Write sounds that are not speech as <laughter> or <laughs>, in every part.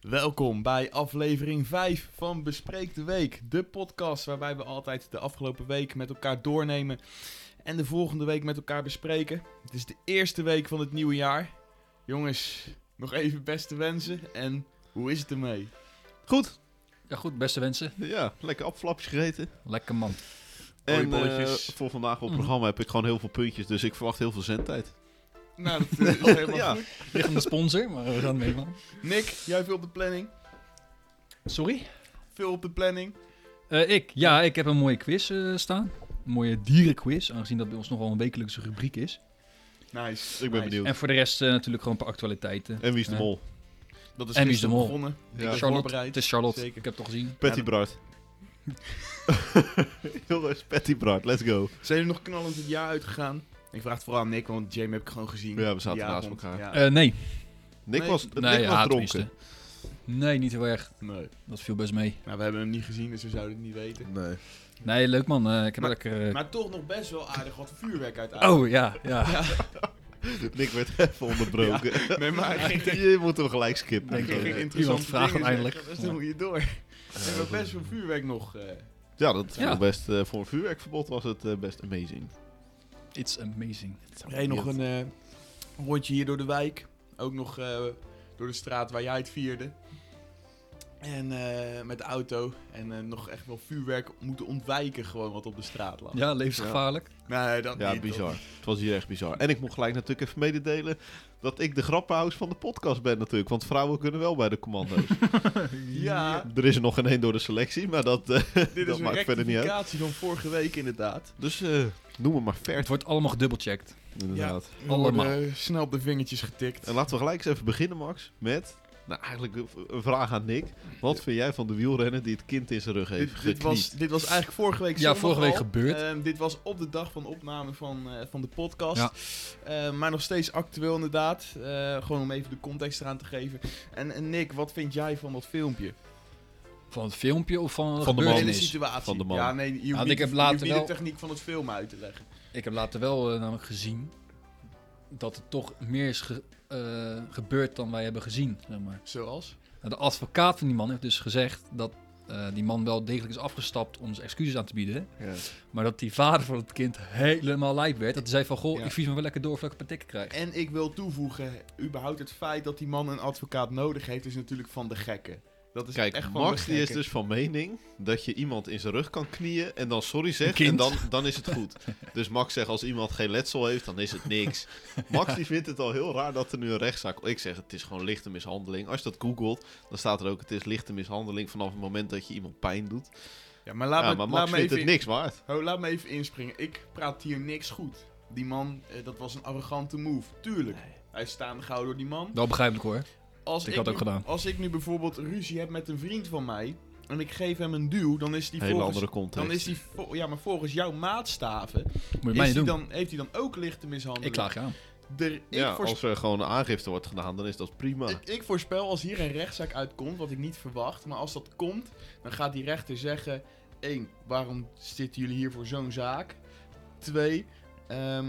Welkom bij aflevering 5 van Bespreek de Week, de podcast waarbij we altijd de afgelopen week met elkaar doornemen en de volgende week met elkaar bespreken. Het is de eerste week van het nieuwe jaar. Jongens, nog even beste wensen en hoe is het ermee? Goed. Ja, goed, beste wensen. Ja, lekker appelflapjes gegeten. Lekker man. En Oliebolletjes. eh, voor vandaag op het Mhm. programma heb ik gewoon heel veel puntjes, dus ik verwacht heel veel zendtijd. Nou, dat <laughs> eh, is helemaal Ja. goed. Ligt aan de sponsor, maar we gaan mee man. Nick, jij veel op de planning? Sorry? Veel op de planning? Eh, ik? Ja, ik heb een mooie quiz eh, staan. Een mooie dierenquiz, aangezien dat bij ons nogal een wekelijkse rubriek is. Nice. Dus Ik ben nice. benieuwd. En voor de rest eh, natuurlijk gewoon een paar actualiteiten. En wie is de Ja. mol? Dat is En wie is de gisteren mol? begonnen. Ja. Ik ben Charlotte, voorbereid. het is Charlotte, Zeker. ik heb het al gezien. Patty Ja, Bart. <laughs> Jongens, Patty Bart, let's go. Zijn jullie nog knallend het jaar uitgegaan? Ik vraag het vooral aan Nick, want Jamie heb ik gewoon gezien. Ja, we zaten Die naast avond. elkaar. Ja. Eh, nee. Nick Nee, was, nee, Nick ja, was dronken. tenminste. Nee, niet heel erg. Nee. Dat viel best mee. Nou, we hebben hem niet gezien, dus we zouden het niet weten. Nee. Nee, leuk man. Eh, ik heb Maar- lekker... eh, Maar toch nog best wel aardig wat vuurwerk uit Oh, ja, ja. <laughs> Nick werd even onderbroken. <laughs> <laughs> Nee, maar hij ging tegen Je moet hem gelijk skippen. Denk geen ik. Eh, interessante iemand vraagt dingen uiteindelijk. zeggen, Dus dan moet je door. We hebben best wel vuurwerk nog. eh. Ja, dat Ja. was best eh, voor een vuurwerkverbod was het eh, best amazing. It's amazing. Reed nog een eh, rondje hier door de wijk. Ook nog eh, door de straat waar jij het vierde. En eh, met de auto. En eh, nog echt wel vuurwerk moeten ontwijken gewoon wat op de straat lag. Ja, levensgevaarlijk. Nee, dat Ja, niet. bizar. Het was hier echt bizar. En ik moet gelijk natuurlijk even mededelen dat ik de grappenhuis van de podcast ben natuurlijk. Want vrouwen kunnen wel bij de commando's. Ja, <laughs> er is er nog geen één door de selectie, maar dat, eh, dit <laughs> dat is een maakt verder niet uit. rectificatie van vorige week inderdaad. Dus eh, noem hem maar Het Vert, wordt allemaal gedubbelcheckt. inderdaad. We Allemaal. worden, eh, snel op de vingertjes getikt. En laten we gelijk eens even beginnen, Max, met... Nou, eigenlijk een- een vraag aan Nick. Wat vind jij van de wielrenner die het kind in zijn rug heeft Dit, dit, was, dit was eigenlijk vorige week Ja, zondag vorige week al. gebeurd. Ehm, dit was op de dag van opname van, eh, van de podcast. Ja. Ehm, maar nog steeds actueel inderdaad. Eh, gewoon om even de context eraan te geven. En, en Nick, wat vind jij van dat filmpje? Van het filmpje of van, Van de De man. hele gebeurtenis? situatie. Van de man. Nou, Ja, nee, je hoeft want niet, ik heb je later hoeft niet wel- de techniek van het film uit te leggen. Ik heb later wel eh, namelijk gezien dat er toch meer is ge- eh, gebeurd dan wij hebben gezien. Zeg maar. Zoals? Nou, De advocaat van die man heeft dus gezegd dat eh, die man wel degelijk is afgestapt om zijn excuses aan te bieden. Maar dat die vader van het kind helemaal lijp werd. Dat hij zei van, goh, Ja. ik vies me wel lekker door voordat ik een partikken krijg. En ik wil toevoegen, überhaupt het feit dat die man een advocaat nodig heeft, is natuurlijk van de gekken. Dat is echt Kijk, van Max de die is gekken. dus van mening dat je iemand in zijn rug kan knieën en dan sorry zegt kind. en dan, dan is het goed. Dus Max zegt als iemand geen letsel heeft, dan is het niks. Max die vindt het al heel raar dat er nu een rechtszaak... Ik zeg het is gewoon lichte mishandeling. Als je dat googelt, dan staat er ook het is lichte mishandeling vanaf het moment dat je iemand pijn doet. Ja, maar laat ja, me, maar laat Max me vindt even het niks waard. Oh, laat me even inspringen. Ik praat hier niks goed. Die man, eh, dat was een arrogante move. Tuurlijk. Hij is staande gehouden door die man. Wel begrijpelijk hoor. Als ik had nu, ook gedaan. Als ik nu bijvoorbeeld ruzie heb met een vriend van mij... en ik geef hem een duw, dan is die Hele volgens... andere context. Dan is die, vol- ja, maar volgens jouw maatstaven Moet je is mij die niet doen. dan, heeft hij dan ook lichte mishandeling. Ik klaag je aan. Er, ik, ja, voors- als er gewoon een aangifte wordt gedaan, dan is dat prima. ik, ik voorspel als hier een rechtszaak uitkomt, wat ik niet verwacht... maar als dat komt, dan gaat die rechter zeggen... één, waarom zitten jullie hier voor zo'n zaak? Twee, ehm,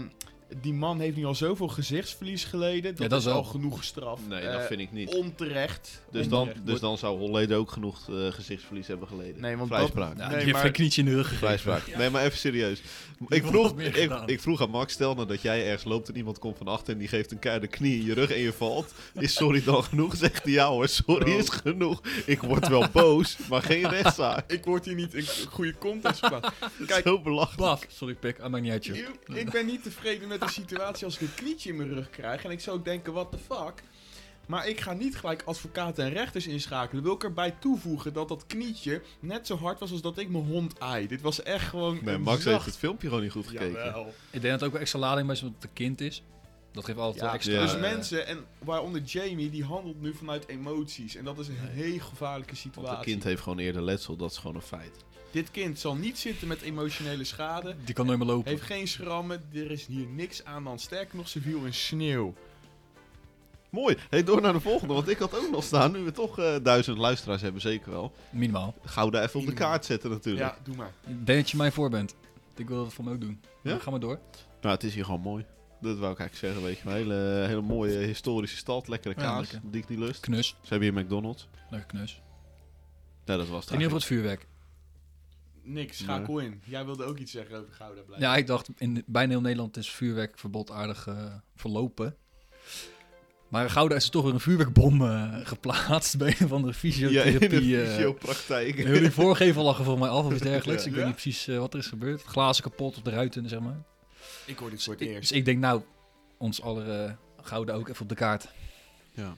die man heeft nu al zoveel gezichtsverlies geleden. Dat, Ja, dat is wel. al genoeg straf. Nee, Eh, dat vind ik niet. Onterecht. Dus dan, Onterecht. dus dan zou Holleden ook genoeg eh, gezichtsverlies hebben geleden. Nee, want Vrijspraak. dat- Ja, Nee, die heeft maar- geen knietje in de rug gegeven. Vrijspraak. Nee, maar even serieus. Ik wordt vroeg, nog meer ik, gedaan. ik vroeg aan Max, stel nou dat jij ergens loopt en iemand komt van achter en die geeft een keiharde knie in je rug en je valt. Is sorry dan genoeg? Zegt hij, ja hoor, sorry Bro. is genoeg. Ik word wel boos, maar <laughs> geen rechtszaak. Ik word hier niet in goede context geplaatst. Kijk, Zo belachelijk. Blaf. Sorry pik, aan mijn niet uit joh. Eeuw, ik ben niet tevreden met de situatie als ik een knietje in mijn rug krijg. En ik zou ook denken, what the fuck? Maar ik ga niet gelijk advocaten en rechters inschakelen. Wil ik erbij toevoegen dat dat knietje net zo hard was als dat ik mijn hond aai. Dit was echt gewoon Nee, een Max heeft zacht... het filmpje gewoon niet goed gekeken. Jawel. Ik denk dat het ook wel extra lading bij is omdat het een kind is. Dat geeft altijd wel Ja, extra... Ja. dus eh, mensen, en waaronder Jamie, die handelt nu vanuit emoties. En dat is een heel gevaarlijke Want het situatie. kind heeft gewoon eerder letsel, dat is gewoon een feit. Dit kind zal niet zitten met emotionele schade. Die kan nooit meer lopen. Heeft geen schrammen. Er is hier niks aan aan. Sterker nog, ze viel in sneeuw. Mooi. Hey, door naar de volgende, want ik had ook nog staan. Nu we toch eh, duizend luisteraars hebben, zeker wel. Minimaal. Gouda even op de kaart zetten natuurlijk. Mm. Ja, doe maar. Ik denk dat je mij voor bent. Ik wil dat voor me ook doen. Ja? Ja? Ga maar door. Nou, het is hier gewoon mooi. Dat wou ik eigenlijk zeggen, weet je. Een hele, hele mooie historische stad. Lekkere Ja, kaas, lekker. die ik niet lust. Knus. Ze hebben hier McDonald's. Lekker knus. Nou, dat was het In ieder geval eigenlijk. het vuurwerk. Niks, schakel in. Jij wilde ook iets zeggen over Gouda blijven. Ja, ik dacht, in bijna heel Nederland is vuurwerkverbod aardig eh, verlopen. Maar in Gouda is er toch weer een vuurwerkbom eh, <laughs> geplaatst bij een Ja, van de in de fysiotherapie. eh, fysiopraktijk. <laughs> Heel die voorgevel lag er voor mij af of iets dergelijks. Ja. Ik weet niet precies eh, wat er is gebeurd. Glazen kapot op de ruiten, zeg maar. Ik hoor dit voor het Ik- Dus eerst. ik denk, nou, ons aller eh, gouden ook even op de kaart. Ja. ben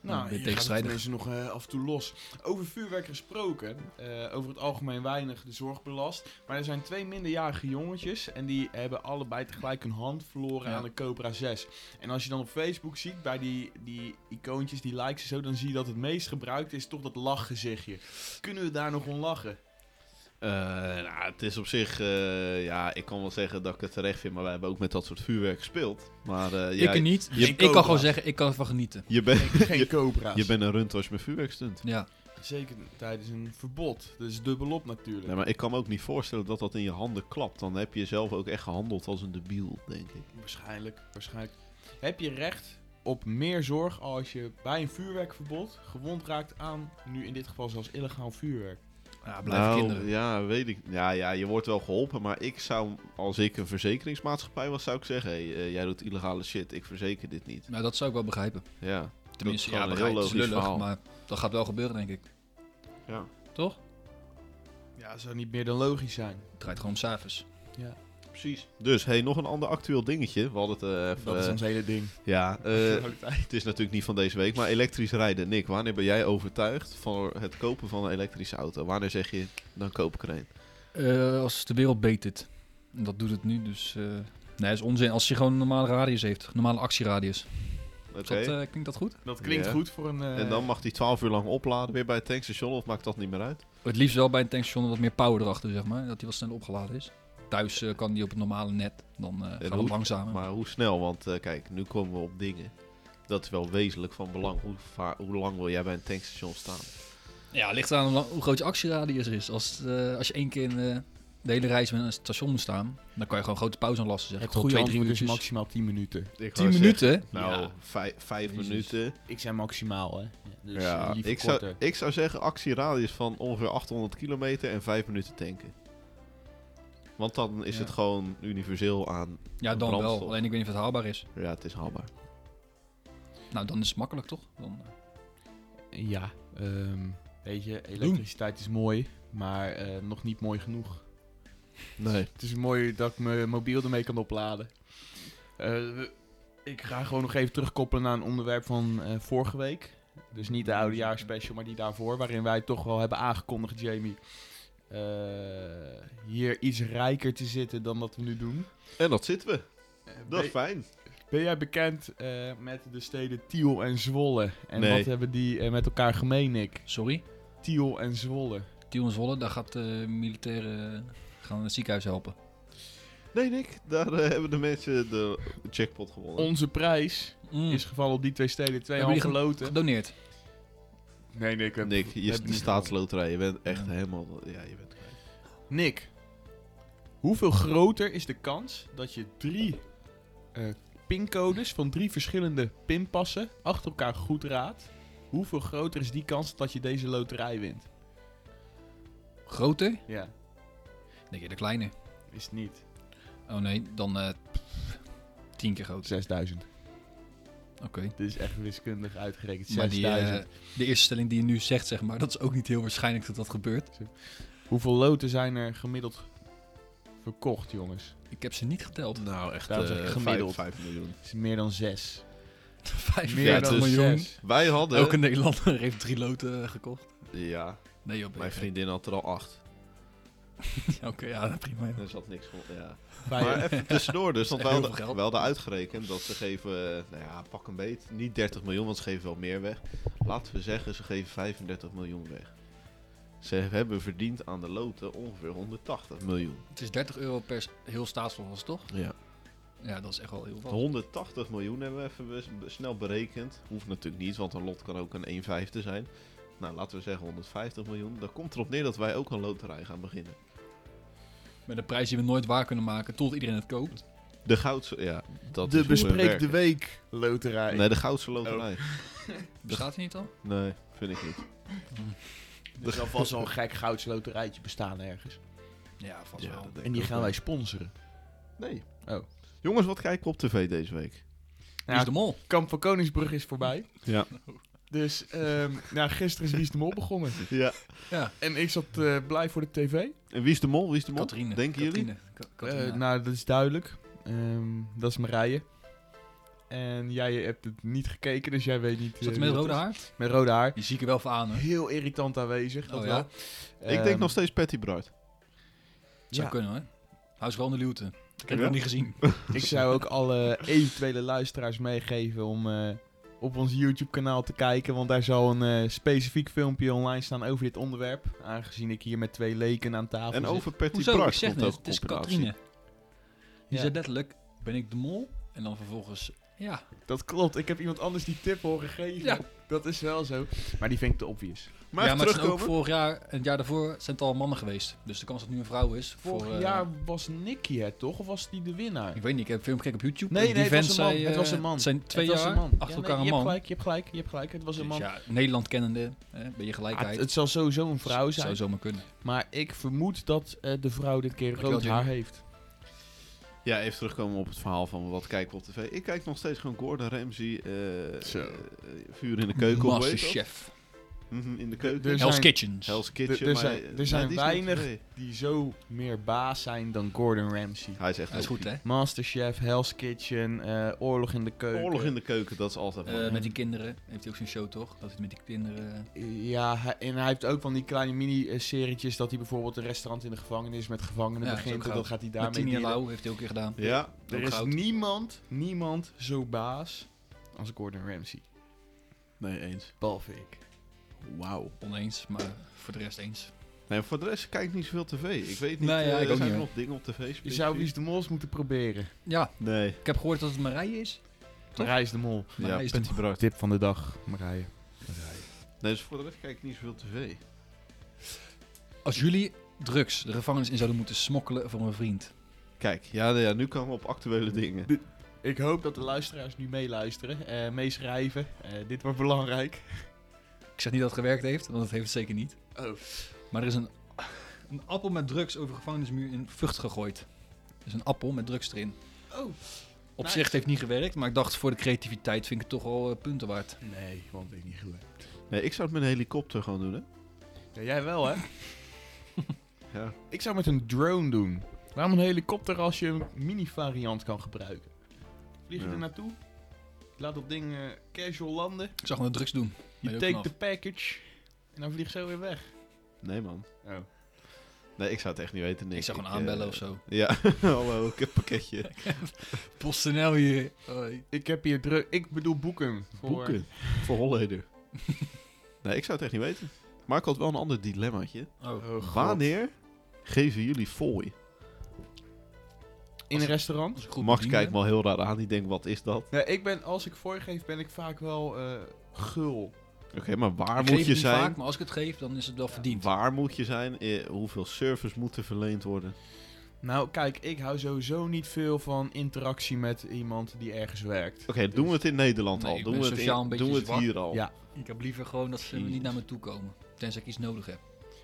Nou, je hier gaan de tegenstrijdig. mensen nog eh, af en toe los. Over vuurwerk gesproken. eh, over het algemeen weinig de zorg belast. Maar er zijn twee minderjarige jongetjes. En die hebben allebei tegelijk hun hand verloren Ja. aan de Cobra 6. En als je dan op Facebook ziet, bij die, die icoontjes, die likes en zo. Dan zie je dat het meest gebruikt is toch dat lachgezichtje. Kunnen we daar nog om lachen? Eh, nou, het is op zich, eh, ja, ik kan wel zeggen dat ik het terecht vind, maar wij hebben ook met dat soort vuurwerk gespeeld. Maar eh, ik jij, er niet. je ik kan cobra. gewoon zeggen, ik kan ervan genieten. je, bent- Geen je, Cobra's. je bent een runt als je met vuurwerk stunt. Ja, Zeker tijdens een verbod. Dat is dubbelop natuurlijk. Nee, maar ik kan me ook niet voorstellen dat dat in je handen klapt. Dan heb je zelf ook echt gehandeld als een debiel, denk ik. Waarschijnlijk, waarschijnlijk. Heb je recht op meer zorg als je bij een vuurwerkverbod gewond raakt aan, nu in dit geval zelfs illegaal vuurwerk? ja blijven Nou, kinderen. Ja, weet ik. Ja, ja, je wordt wel geholpen, maar ik zou, als ik een verzekeringsmaatschappij was, zou ik zeggen: hey, eh, jij doet illegale shit, ik verzeker dit niet. Nou, dat zou ik wel begrijpen. Ja. Tenminste, gewoon ja, een dat heel heel is logisch lullig, verhaal. maar dat gaat wel gebeuren, denk ik. Ja. Toch? Ja, dat zou niet meer dan logisch zijn. Het draait gewoon om cijfers. Precies. Dus, hey, nog een ander actueel dingetje. We hadden het eh, even, Dat is eh, ons hele ding. Ja, eh, <laughs> Altijd. het is natuurlijk niet van deze week, maar elektrisch rijden. Nick, wanneer ben jij overtuigd van het kopen van een elektrische auto? Wanneer zeg je, dan koop ik er een? Eh, als de wereld beet dit. En Dat doet het nu, dus... eh, Nee, dat is onzin. Als je gewoon een normale radius heeft, normale actieradius. Oké. Is Dat, eh, klinkt dat goed? dat klinkt Ja. goed voor een... eh, en dan mag die 12 uur lang opladen weer bij het tankstation, of maakt dat niet meer uit? Het liefst wel bij een tankstation wat meer power erachter, zeg maar. Dat die wat sneller opgeladen is. Thuis eh, kan die op het normale net. Dan eh gaat hoe- het langzamer. Maar hoe snel? Want eh, kijk, nu komen we op dingen. Dat is wel wezenlijk van belang. Hoe, va- hoe lang wil jij bij een tankstation staan? Ja, het ligt eraan hoe lang- hoe groot je actieradius is. Als, eh, als je één keer in, eh, de hele reis met een station moet staan, dan kan je gewoon grote pauze aanlasten. Zeg. het Gewoon goede twee, antwoord is drie minuutjes. maximaal 10 minuten. Ik Tien minuten? nou, Ja. vij- vijf Jezus. minuten. Ik zei maximaal, hè. Dus ja, eh, liever ik zou, korter. ik zou zeggen actieradius van ongeveer 800 kilometer en vijf minuten tanken. Want dan is Ja. het gewoon universeel aan... Ja, dan brandstof. wel. Alleen ik weet niet of het haalbaar is. Ja, het is haalbaar. Nou, dan is het makkelijk, toch? Dan, eh, Ja, ehm, weet je, elektriciteit is mooi, maar eh, nog niet mooi genoeg. Nee. Het is mooi dat ik mijn mobiel ermee kan opladen. Eh, we- ik ga gewoon nog even terugkoppelen naar een onderwerp van eh, vorige week. Dus niet de oudejaarspecial, maar die daarvoor. Waarin wij toch wel hebben aangekondigd, Jamie. eh, hier iets rijker te zitten dan dat we nu doen. En dat zitten we. Eh, Dat is ben, fijn. ben jij bekend eh, met de steden Tiel en Zwolle? En Nee. wat hebben die eh, met elkaar gemeen, Nick? sorry, Tiel en Zwolle. Tiel en Zwolle, daar gaat de militairen eh, gaan het ziekenhuis helpen. Nee, Nick. Daar eh, hebben de mensen de jackpot gewonnen. Onze prijs Mm. is gevallen op die twee steden. Twee Hebben halve die ge- loten. Gedoneerd. Nee, Nick. we- Nick, we je hebben de niet staatsloterij. Je bent echt Ja. helemaal... Ja, je bent... Nick, hoeveel groter is de kans dat je drie eh, pincodes van drie verschillende pinpassen achter elkaar goed raadt? Hoeveel groter is die kans dat je deze loterij wint? Groter? Ja, Nee, de kleine. is het niet. Oh nee, dan eh, tien keer groter. 6000. Oké. Dit is echt wiskundig uitgerekend. Maar die, 6000. eh, de eerste stelling die je nu zegt, zeg maar, dat is ook niet heel waarschijnlijk dat dat gebeurt. Hoeveel loten zijn er gemiddeld verkocht, jongens? Ik heb ze niet geteld. Nou, echt Daarom zeg ik <laughs> eh, gemiddeld. vijf- vijf miljoen. Het is meer dan 6. Meer 45 dan miljoen. zes. Wij hadden... Elke Nederlander heeft drie loten eh, gekocht. Ja, Nee, op mijn vriendin had er al acht. <laughs> Oké, ja, prima. joh. Er zat niks van. Ja. Bij- Maar even tussendoor dus, want wij Heel hadden, veel geld. wij hadden uitgerekend dat ze geven, eh, nou ja, pak een beet, niet 30 miljoen, want ze geven wel meer weg. Laten we zeggen, ze geven 35 miljoen weg. Ze hebben verdiend aan de loten ongeveer 180 miljoen. Het is 30 euro per s- heel staatsvolgens, toch? Ja. Ja, dat is echt wel heel veel. 180 miljoen hebben we even bes- be- snel berekend. Hoeft natuurlijk niet, want een lot kan ook een 1,5 zijn. Nou, laten we zeggen 150 miljoen. Dan komt erop neer dat wij ook een loterij gaan beginnen. Met een prijs die we nooit waar kunnen maken, tot iedereen het koopt. De goudse... Ja, dat is de hoe we Bespreek de werken. Week loterij. Nee, de goudse loterij. Oh. Bestaat hij niet al? Nee, vind ik <laughs> niet. Er zal vast wel een gek gouds loterijtje bestaan ergens. Ja, vast Ja, wel. dat denk En die ik gaan ook wij wel. sponsoren. Nee. Oh. Jongens, wat kijken we op tv deze week? Wie is de mol? Dus Kamp van Koningsbrug is voorbij. Ja. Dus ehm, nou, gisteren is Wies de Mol begonnen. ja. En ik zat eh, blij voor de tv. En wie is de mol? Wie is de mol? Katrine. Denken jullie? Katrine. Ka- Katrine. Eh, nou, dat is duidelijk. Ehm, dat is Marije. En jij hebt het niet gekeken, dus jij weet niet... Is dat eh, met wie rode is. haar? Met rode haar. Die zie ik er wel van <laughs> aan, hoor. Heel irritant aanwezig, dat Oh, ja? wel. Ehm, Ik denk nog steeds Patty Bright. Zou Ja. kunnen, hoor. Hou ze gewoon de luwte. Ik Ja? heb hem niet gezien. Ik zou ook alle eventuele luisteraars meegeven om eh, op ons YouTube-kanaal te kijken. Want daar zal een eh, specifiek filmpje online staan over dit onderwerp. Aangezien ik hier met twee leken aan tafel En zit. over Patty Hoezo? Ik Bright zeg komt net, ook het is een Katrine. compilatie. Die Ja. zei letterlijk, ben ik de mol? En dan vervolgens, ja. Dat klopt, ik heb iemand anders die tip horen geven. Ja. Dat is wel zo. Maar die vind ik te obvious. Maar, ja, even maar het is ook terugkomen. vorig jaar en het jaar daarvoor zijn het al mannen geweest. Dus de kans dat het nu een vrouw is. Vorig voor, eh, jaar was Nicky het toch? Of was die de winnaar? Ik weet niet, ik heb een film gekeken op YouTube. Nee, en nee, die het was vent een man. zei, Het eh, was een man. zijn twee het was jaar een man. Ja, achter nee, elkaar je een man. Hebt gelijk, je hebt gelijk, je hebt gelijk. Het was een man. Dus ja, Nederland kennende, hè, een beetje Ah, het, gelijkheid. het zal sowieso een vrouw zijn. Zou zomaar kunnen. Maar ik vermoed dat eh, de vrouw dit keer Dankjewel, rood haar Jimmy. heeft. Ja, even terugkomen op het verhaal van wat kijken we op tv. Ik kijk nog steeds gewoon Gordon Ramsay, eh, Zo. eh, Vuur in de Keuken. hoe heet dat? Masterchef. Mhm, in de keuken. Dus- Er Hell's zijn- Kitchens. Hell's Kitchen. er maar, zijn- eh, er nee, zijn die is niet op weinig- tv. Die zo meer baas zijn dan Gordon Ramsay. Hij is echt Dat is heel goed, hè? Masterchef, Hell's Kitchen, eh, Oorlog in de goed. Keuken. Oorlog in de keuken, dat is altijd Eh, mooi. met die kinderen. Heeft hij ook zo'n show, toch? Dat hij het met die kinderen... Ja, hij- en hij heeft ook van die kleine mini-serietjes dat hij bijvoorbeeld een restaurant in de gevangenis met gevangenen Ja, dat is begint. ook En goud. dat gaat hij met daarmee Tini en dealen. Lau heeft hij ook weer gedaan. Ja, Er Ook is goud. niemand, niemand zo baas als Gordon Ramsay. nee eens. Behalve ik. Wauw. Oneens, maar voor de rest eens. Nee, voor de rest kijk ik niet zoveel tv. Ik weet niet, Nee, ja, eh, ik ook zijn niet, er hoor. nog dingen op tv Je specifiek? zou Wies de Mols moeten proberen. Ja, Nee. ik heb gehoord dat het Marije is. Toch? Marij is de Mol. Maar ja, hij is Patty de- Bright. Tip van de dag, Marije. Nee, dus voor de rest kijk ik niet zoveel tv. Als jullie drugs de gevangenis in zouden moeten smokkelen voor een vriend. Kijk, ja, nou ja nu komen we op actuele dingen. Ik hoop dat de luisteraars nu meeluisteren, eh, meeschrijven. Eh, dit wordt belangrijk. Ik zeg niet dat het gewerkt heeft, want dat heeft het zeker niet. Oh. Maar er is een, een appel met drugs over gevangenismuur in Vught gegooid. Dus een appel met drugs erin. Oh. Op Nice. zich het heeft niet gewerkt, maar ik dacht voor de creativiteit vind ik het toch wel eh, punten waard. Nee, want ik niet goed. Nee, ik zou het met een helikopter gaan doen, hè? Ja, jij wel, hè? Ja. Ik zou met een drone doen. Waarom een helikopter als je een mini-variant kan gebruiken? Vlieg je Ja. er naartoe? Je Laat dat ding eh, casual landen. Ik zag gewoon de drugs doen. Je Weet ook take nog. the package. En dan vlieg je zo weer weg. Nee, man. Oh. Nee, ik zou het echt niet weten. Nick. Ik zag gewoon eh, aanbellen of zo. Ja, <laughs> hallo, ik heb een pakketje. <laughs> PostNL hier. Ik heb hier druk... Ik bedoel boeken. Voor... Boeken. Voor <laughs> Holleder. nee, ik zou het echt niet weten. Maar ik had wel een ander dilemmaatje. Oh. Oh, God. Wanneer geven jullie fooi? In een restaurant? Als ik goed Max bediend kijkt ben. me al heel raar aan. Die denkt, wat is dat? Nee, ik ben, als ik voorgeef, ben ik vaak wel eh, gul. Oké, maar waar Ik geef moet het je niet zijn? vaak, maar als ik het geef, dan is het wel verdiend. Waar moet je zijn? Eh, hoeveel service moet er verleend worden? Nou, kijk, ik hou sowieso niet veel van interactie met iemand die ergens werkt. Oké, doen we het in Nederland dus- Nee, al? ik Doen ben we het, sociaal een in, beetje doen we het zwak. hier al? Ja. Ik heb liever gewoon dat ze Jezus. niet naar me toe komen. Tenzij ik iets nodig heb.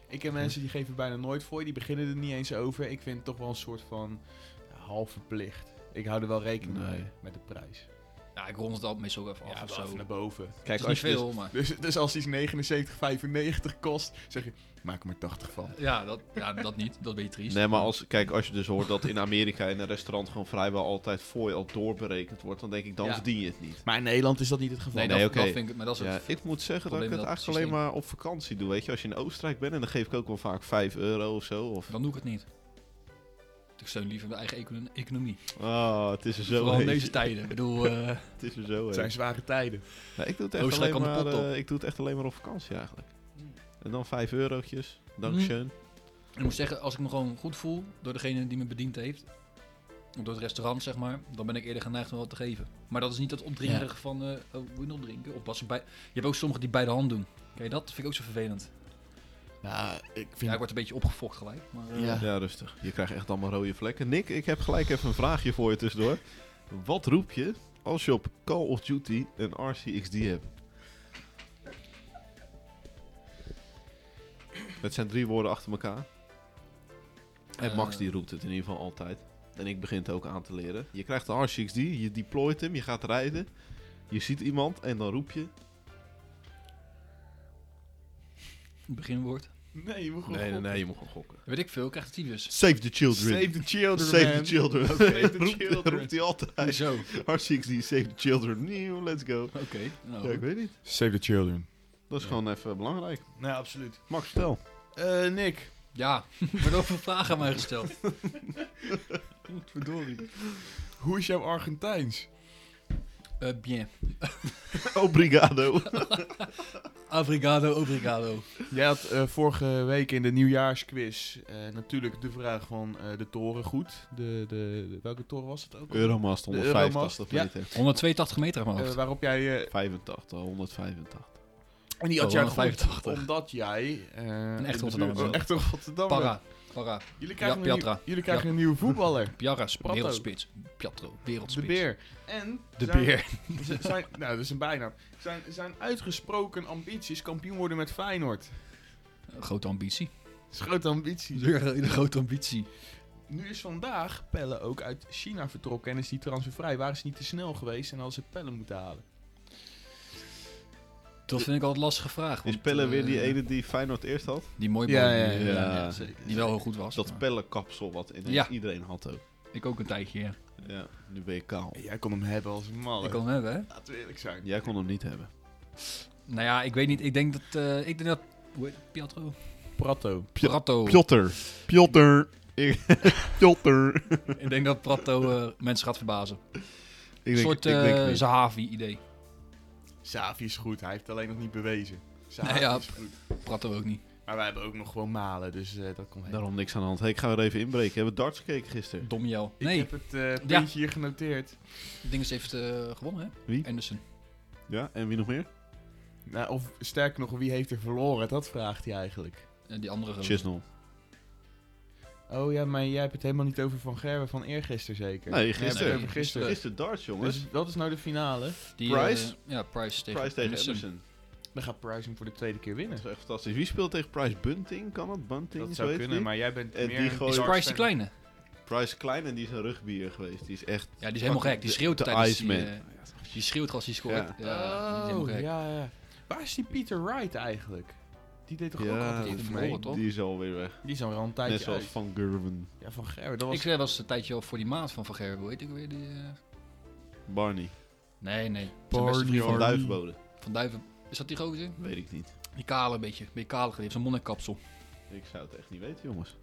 Ik ken mensen die geven bijna nooit voor, die beginnen er niet eens over. Ik vind het toch wel een soort van half verplicht. Ik hou er wel rekening Nee. mee met de prijs. Ja, ik rond het altijd meestal ook even af ja, of wel zo. even naar Het boven. <laughs> Kijk, is niet als je dus- veel, maar... Dus, dus als iets 79,95 kost, zeg je, maak er maar 80 van. Ja dat, ja, dat niet. Dat ben je triest. Nee, maar als, kijk, als je dus hoort dat in Amerika in een restaurant gewoon vrijwel altijd fooi al doorberekend wordt, dan denk ik, dan Ja. verdien je het niet. Maar in Nederland is dat niet het geval. Nee, Nee, dat, oké. dat vind ik... Maar dat is Ja, het... ik moet zeggen dat ik probleem het met dat eigenlijk alleen systeem. maar op vakantie doe. Weet je, als je in Oostenrijk bent en dan geef ik ook wel vaak 5 euro of zo. Of... Dan doe ik het niet. Ik steun liever mijn eigen econo- economie. Ah, het is er zo Vooral in heet. deze tijden. Ik bedoel, eh, Het is er zo Het heet. zijn zware tijden. Nee, Nou, ik, doe het echt Oostenrijk alleen kan de maar, pot op. eh, ik doe het echt alleen maar op vakantie eigenlijk. En dan 5 eurotjes. Dankjewel. ik moet zeggen, als ik me gewoon goed voel door degene die me bediend heeft, of door het restaurant zeg maar, dan ben ik eerder geneigd om wat te geven. Maar dat is niet dat opdringerige van, eh oh, wil je nog drinken? Of wat ze bij... Je hebt ook sommigen die bij de hand doen. Kijk, dat vind ik ook zo vervelend. Nou, ik Ja, vind... ik word een beetje opgefokt gelijk. Maar, eh, Ja. Ja, rustig. Je krijgt echt allemaal rode vlekken. Nick, ik heb gelijk even een vraagje voor je tussendoor. Wat roep je als je op Call of Duty een RCXD hebt? Het zijn drie woorden achter elkaar. En Max eh, die roept het in ieder geval altijd. En ik begin het ook aan te leren. Je krijgt de RCXD, je deployt hem, je gaat rijden. Je ziet iemand en dan roep je... eh, Beginwoord. Nee, je moet gewoon Nee, nee, gokken. nee, je moet gewoon gokken. Weet ik veel, krijgt het dus. tyfus. Save the children. Save the children, Save man. the children. <laughs> Save <laughs> the Roept- children. roept hij altijd. Zo, oké. R6D, Save the Children, nieuw, let's go. nou. Ja, ik weet niet. Save the children. Oh. Dat is Ja. gewoon even belangrijk. Nou, absoluut. Max, vertel. Eh, Nick. Ja, <laughs> maar ook een vraag aan mij gesteld. Verdorie. Hoe is jouw Argentijns? Eh, bien. <laughs> Obrigado. Obrigado, obrigado. Jij had eh, vorige week in de nieuwjaarsquiz eh, natuurlijk de vraag van eh, de toren goed. De, de, de- welke toren was het ook? Euromast De Euromast, 185 meter. 182 meter uit mijn Eh, hoofd. waarop jij... eh, 85, 185. en die had Oh, jij goed, 185. omdat jij... eh, in de buurt- Rotterdammer oh, bent. Een echte Rotterdammer. Para, para. Jullie krijgen, Ja, een, Piatra. nieuw- jullie krijgen een nieuwe <laughs> voetballer. Piara, Prato. wereldspits. Piatro, De wereldspits. Beer. En De zijn- beer. Z- <laughs> zijn, nou, dat is een bijnaam. Zijn, zijn uitgesproken ambities kampioen worden met Feyenoord. Een <laughs> grote ambitie. Dat is grote ambitie. Een grote ambitie. Nu is vandaag Pelle ook uit China vertrokken en is die transfervrij. Waren ze niet te snel geweest en hadden ze Pelle moeten halen? Dat vind ik altijd lastige vraag. Is want, Pelle eh, weer die ene die Feyenoord eerst had? Die mooie Ja, bal die, ja, eh, ja. zeker. die wel heel goed was. Dat maar Pelle-kapsel wat ineens Ja. iedereen had ook. Ik ook een tijdje, ja. Ja, nu ben je kaal. Jij kon hem hebben als een Oh, malle. Ik kan hem hebben, hè? Laten we eerlijk zijn. Jij kon hem niet hebben. Nou ja, ik weet niet. Ik denk dat... eh, ik denk dat... Hoe heet het? Piatro? Pratto. Prato. Piotr. Piotr. <laughs> Ik- Piotr. ik denk dat Prato eh, mensen gaat verbazen. Ik Een soort ik denk eh niet. Zahavi-idee. Savi is goed, hij heeft het alleen nog niet bewezen. Savi Nou ja. is goed. Prato ook niet. Maar wij hebben ook nog gewoon malen, dus eh, dat komt helemaal. Daarom niks aan de hand. Hey, ik ga weer even inbreken. Hebben we darts gekeken gisteren? Domjel. Ik Nee, heb het eh puntje Ja. hier genoteerd. het ding is heeft eh, gewonnen, hè? Wie? Anderson. Ja, en wie nog meer? Nou, of sterker nog, wie heeft er verloren? Dat vraagt hij eigenlijk. Eh, die andere. gozer. Chisnell. Oh ja, maar jij hebt het helemaal niet over Van Gerwen van eergisteren zeker? Nee, Jij hebt het gisteren. over gisteren. Gisteren darts, jongens. Dus dat is nou de finale. Die, eh, Price? ja, Price tegen, Price tegen Anderson. Emerson. Dan gaat Price hem voor de tweede keer Dat winnen. is echt fantastisch. Wie speelt tegen Price Bunting? Kan het? Bunting? Dat zo zou heet kunnen, die? maar jij bent En meer... die een gooit- Is darts Price die fan. kleine? Price Klein en die is een rugbier geweest. Die is echt... Ja, die is helemaal gek. Die schreeuwt de tijdens die, Iceman. eh, die schreeuwt als hij scoort. Ja. Ja. die is helemaal Oh, gek. ja, ja. Waar is die Peter Wright eigenlijk? Die deed toch ook ja, altijd die goed verloren, mee? toch? die is alweer weg. Die is al wel een tijdje Net zoals uit. Van Gerwen. Ja, Van Gerwen, dat was... Ik zei was een tijdje al voor die maat van Van Gerwen, hoe heet ik weer die... eh, Barney. Nee, nee. Zijn beste Barney. vriend Van Barney. Duivenbode. Van Duiven. Is dat die gozer? Weet ik niet. Die kale een beetje. Een beetje kalig. Die heeft zo'n monnikkapsel. Ik zou het echt niet weten, jongens.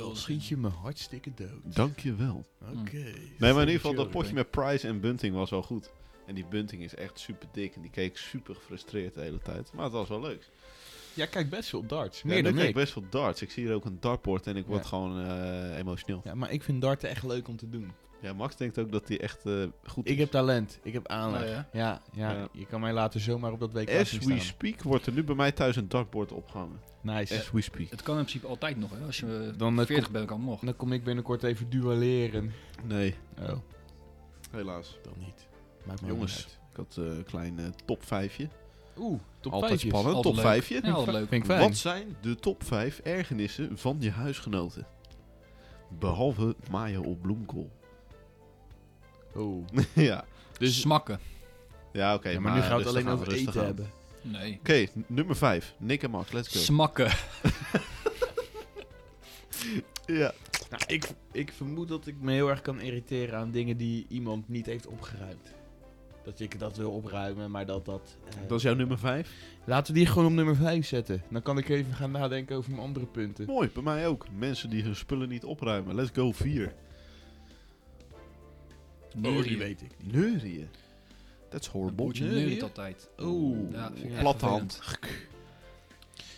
Oh, schiet je me hartstikke dood. Hmm. Dank je wel. Mm. Oké. Nee, maar in ieder geval dat Children. potje met Price en Bunting was wel goed. En die Bunting is echt super dik. En die keek super gefrustreerd de hele tijd. Maar het was wel leuk. Jij kijkt best veel darts. ja, Meer nu dan kijk ik. ik best veel darts. Ik zie hier ook een dartboard en ik word Ja. gewoon eh, emotioneel. Ja, maar ik vind darten echt leuk om te doen. Ja, Max denkt ook dat hij echt eh, goed Ik is. heb talent. Ik heb aanleg. Oh, ja? Ja, ja, Ja. je kan mij later zomaar op dat WK As zien we staan. speak wordt er nu bij mij thuis een dartboard opgehangen. Nice. As we speak. Het kan in principe altijd nog, hè. Als je eh, Dan, eh, 40 bent, kan het nog. Dan kom ik binnenkort even duelleren. Nee, Oh, helaas. dan niet. Maakt me Jongens, allemaal ik had eh, een klein eh, top 5je. niet uit. Oeh, top Altijd vijfjes. spannend, Altijd top leuk. 5je. Ja, altijd leuk. Vind ik fijn. Wat zijn de top 5 ergernissen van je huisgenoten? Behalve maaien op bloemkool. <laughs> Oh. ja, <laughs> Dus, Smakken. ja nou, oké. ja, maar nu gaat het rustig alleen aan, over rustig eten aan. hebben. <laughs> Nee. Oké, n- nummer 5. Nick en Max, let's go. Smakken. Oh, ja. Nou, ik, ik vermoed dat ik me heel erg kan irriteren aan dingen die iemand niet heeft opgeruimd. Dat ik dat wil opruimen, maar dat dat... eh, Dat is jouw nummer 5. Laten we die gewoon op nummer 5 zetten. Dan kan ik even gaan nadenken over mijn andere punten. Mooi, bij mij ook. Mensen die hun spullen niet opruimen. Let's go 4. Oh, Neurieën. die weet ik. Neurieën. That's Een horrible. boeltje Neurieën? neuriet altijd. Oeh. Ja, vind ik echt Platte vervelend. hand.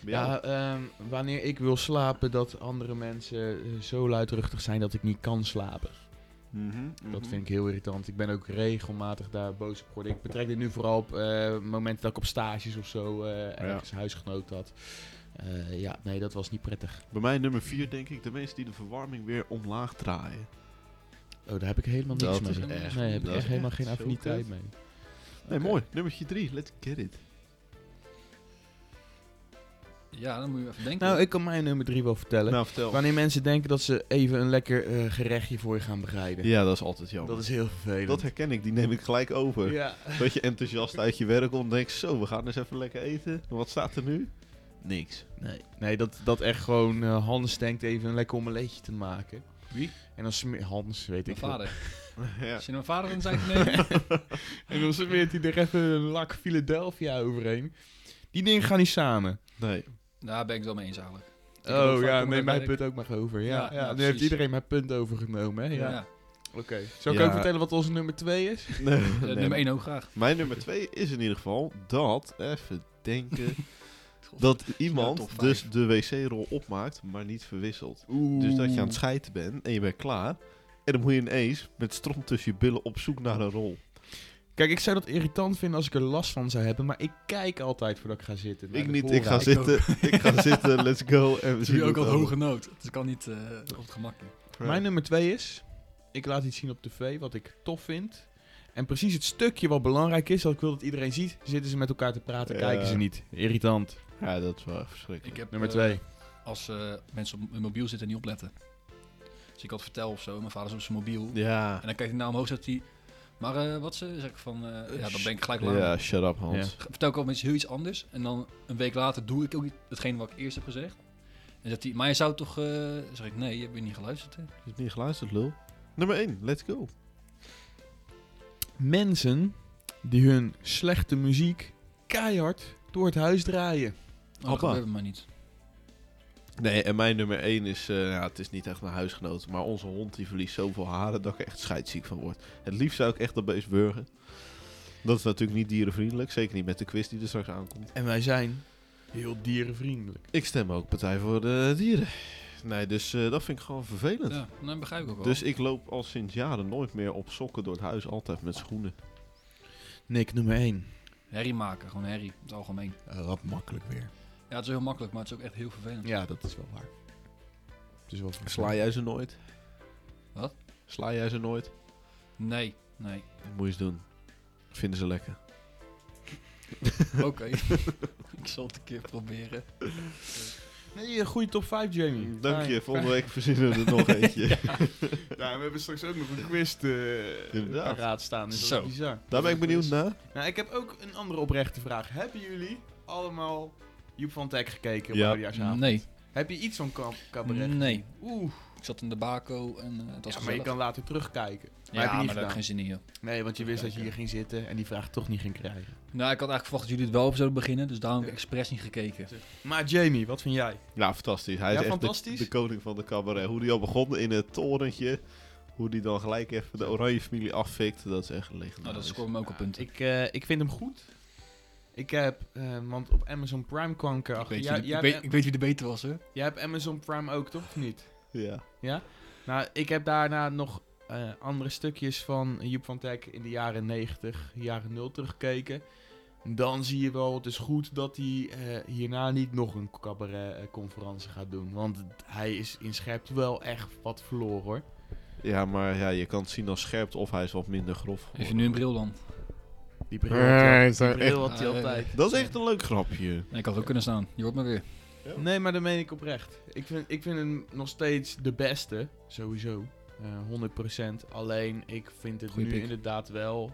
Ja, Ja, ehm, wanneer ik wil slapen, dat andere mensen eh, zo luidruchtig zijn dat ik niet kan slapen. Mhm, Dat vind ik heel irritant. Ik ben ook regelmatig daar boos op geworden. Ik betrek dit nu vooral op eh, momenten dat ik op stages of zo eh ergens huisgenoot had. Eh, ja, nee, dat was niet prettig. Bij mij nummer 4 denk ik de mensen die de verwarming weer omlaag draaien. Oh, daar heb ik helemaal niks Dat mee. is echt- nee, daar heb ik dat echt is helemaal echt geen zo affiniteit kut. mee. Nee, Oké. mooi. Nummertje 3, let's get it. Ja, dan moet je even denken. Nou, ik kan mijn nummer drie wel vertellen. Nou, vertel. Wanneer mensen denken dat ze even een lekker eh, gerechtje voor je gaan bereiden. Ja, dat is altijd jammer. Dat is heel vervelend. Dat herken ik, die neem ik gelijk over. ja. Dat je enthousiast uit je werk komt en denkt, zo, we gaan eens even lekker eten. Wat staat er nu? Niks. Nee, nee dat, dat echt gewoon eh, Hans denkt even een lekker omeletje te maken. Wie? En dan smeert Hans, weet Mijn ik veel. vader. ja. Als je mijn vader dan <laughs> zei nee. En dan smeert hij er even een lak Philadelphia overheen. Die dingen gaan niet samen. <laughs> Nee. Daar ben ik het wel mee eens eigenlijk. Ik heb ook Oh vaak ja, om neem dat mijn werk- punt ook maar over. Ja, Ja, ja, ja, nu heeft precies. iedereen mijn punt overgenomen. Hè? Ja. Ja. Oké. Zal ik Ja. ook vertellen wat onze nummer 2 is? Nee. Eh, Nummer 1 ook graag. Mijn nummer 2 is in ieder geval dat, even <laughs> denken, dat nou top iemand vijf. dus de wc-rol opmaakt, maar niet verwisselt. Dus dat je aan het scheiden bent en je bent klaar. En dan moet je ineens met stront tussen je billen op zoek naar een rol. Kijk, ik zou dat irritant vinden als ik er last van zou hebben, maar ik kijk altijd voordat ik ga zitten. naar ik de niet, ik ga voorraad. zitten, <laughs> ik ga zitten, let's go. En we Zie zien je ook hoe al het hoge nood. Dus ik kan niet eh, op het gemak. doen. afloopt. Mijn nummer 2 is, ik laat iets zien op tv wat ik tof vind. En precies het stukje wat belangrijk is, dat ik wil dat iedereen ziet, zitten ze met elkaar te praten, Ja. kijken ze niet. Irritant. Ja, dat is wel echt Ik verschrikkelijk. heb, Nummer eh, 2. Als eh, mensen op hun mobiel zitten en niet opletten. Dus ik had vertel of zo, mijn vader is op zijn mobiel. Ja, En dan kijkt hij naar omhoog, zegt hij... Maar eh, wat ze? Zeg ik van... eh, ja, dan ben ik gelijk laat. ja shut up Hans. Vertel ik al mensen heel iets anders. En dan een week later doe ik ook niet hetgeen wat ik eerst heb gezegd. En zegt hij, maar je zou toch... eh, dan zeg ik, nee, je hebt weer niet geluisterd. Hè? Je hebt niet geluisterd, lul. Nummer 1, let's go. mensen die hun slechte muziek keihard door het huis draaien. Oh, dat Appa. gebeurt bij mij niet. Nee, en mijn nummer 1 is, eh, ja, het is niet echt mijn huisgenoot, maar onze hond die verliest zoveel haren dat ik er echt scheidsziek van word. Het liefst zou ik echt dat beest burgen. Dat is natuurlijk niet dierenvriendelijk, zeker niet met de quiz die er straks aankomt. En wij zijn heel dierenvriendelijk. Ik stem ook partij voor de dieren. Nee, dus eh, dat vind ik gewoon vervelend. Ja, dat begrijp ik ook wel. Dus ik loop al sinds jaren nooit meer op sokken door het huis, altijd met schoenen. Nick nummer 1. Herrie maken, gewoon herrie, in het algemeen. wat Eh, makkelijk weer. Ja, het is heel makkelijk, maar het is ook echt heel vervelend. Ja, dat is wel waar. Het is wel Sla jij ze nooit? Wat? Sla jij ze nooit? Nee, nee. Moet je eens doen. Vinden ze lekker. Oké. <laughs> ik zal het een keer proberen. Nee, een goede top 5, Jamie. Mm, Dank je, Fijn. volgende week verzinnen we er <laughs> nog eentje. Ja, we hebben straks ook nog een quiz Inderdaad. te raad staan. Dus Zo. Dat is bizar. Daar ben ik benieuwd naar. Nou, ik heb ook een andere oprechte vraag. Hebben jullie allemaal Joep van Teck gekeken op Ja. Oudejaarsavond? Nee, Heb je iets van kam- cabaret? nee. Oeh, Ik zat in de bako en eh, het was ja, maar je gezellig. kan later terugkijken. Maar ja, heb je maar niet daar heb ik gedaan? geen zin in, joh. Nee, want je wist dat je hier ging zitten en die vraag toch niet ging krijgen. Nou, ik had eigenlijk verwacht dat jullie het wel op zouden beginnen, dus daarom heb ik Ja. expres niet gekeken. Maar Jamie, wat vind jij? Ja, fantastisch. Hij Ja, is echt de, fantastisch. de koning van de cabaret. Hoe die al begon in het torentje. Hoe die dan gelijk even de oranje familie afvikt. Dat is echt legendarisch. Nou, dat scoort me ook op punten. Ik, eh, ik vind hem goed. Ik heb, eh, want op Amazon Prime kwam ik Ik erachter. weet, Jij, wie de, jij, Dus ik, hebt weet, ik weet wie de beter was, hè? Am- jij hebt Amazon Prime ook, toch? Of niet? Ja. Nou, ik heb daarna nog eh, andere stukjes van Joep van Teck in de jaren 90, jaren 0 teruggekeken. Dan zie je wel, het is goed dat hij eh, hierna niet nog een cabaret-conferentie gaat doen. Want hij is in scherpte wel echt wat verloren hoor. ja, maar ja, je kan het zien als scherp of hij is wat minder grof. Heeft je geworden. nu een bril dan? Die bril had hij al- is die echt- bril had hij Ah, ja, ja. altijd. Dat is echt een leuk grapje. Nee, ik had ook kunnen staan. Je hoort me weer. Nee, maar dat meen ik oprecht. Ik vind, ik vind hem nog steeds de beste, sowieso. Eh 100%. Alleen ik vind het Goeie nu pick. inderdaad wel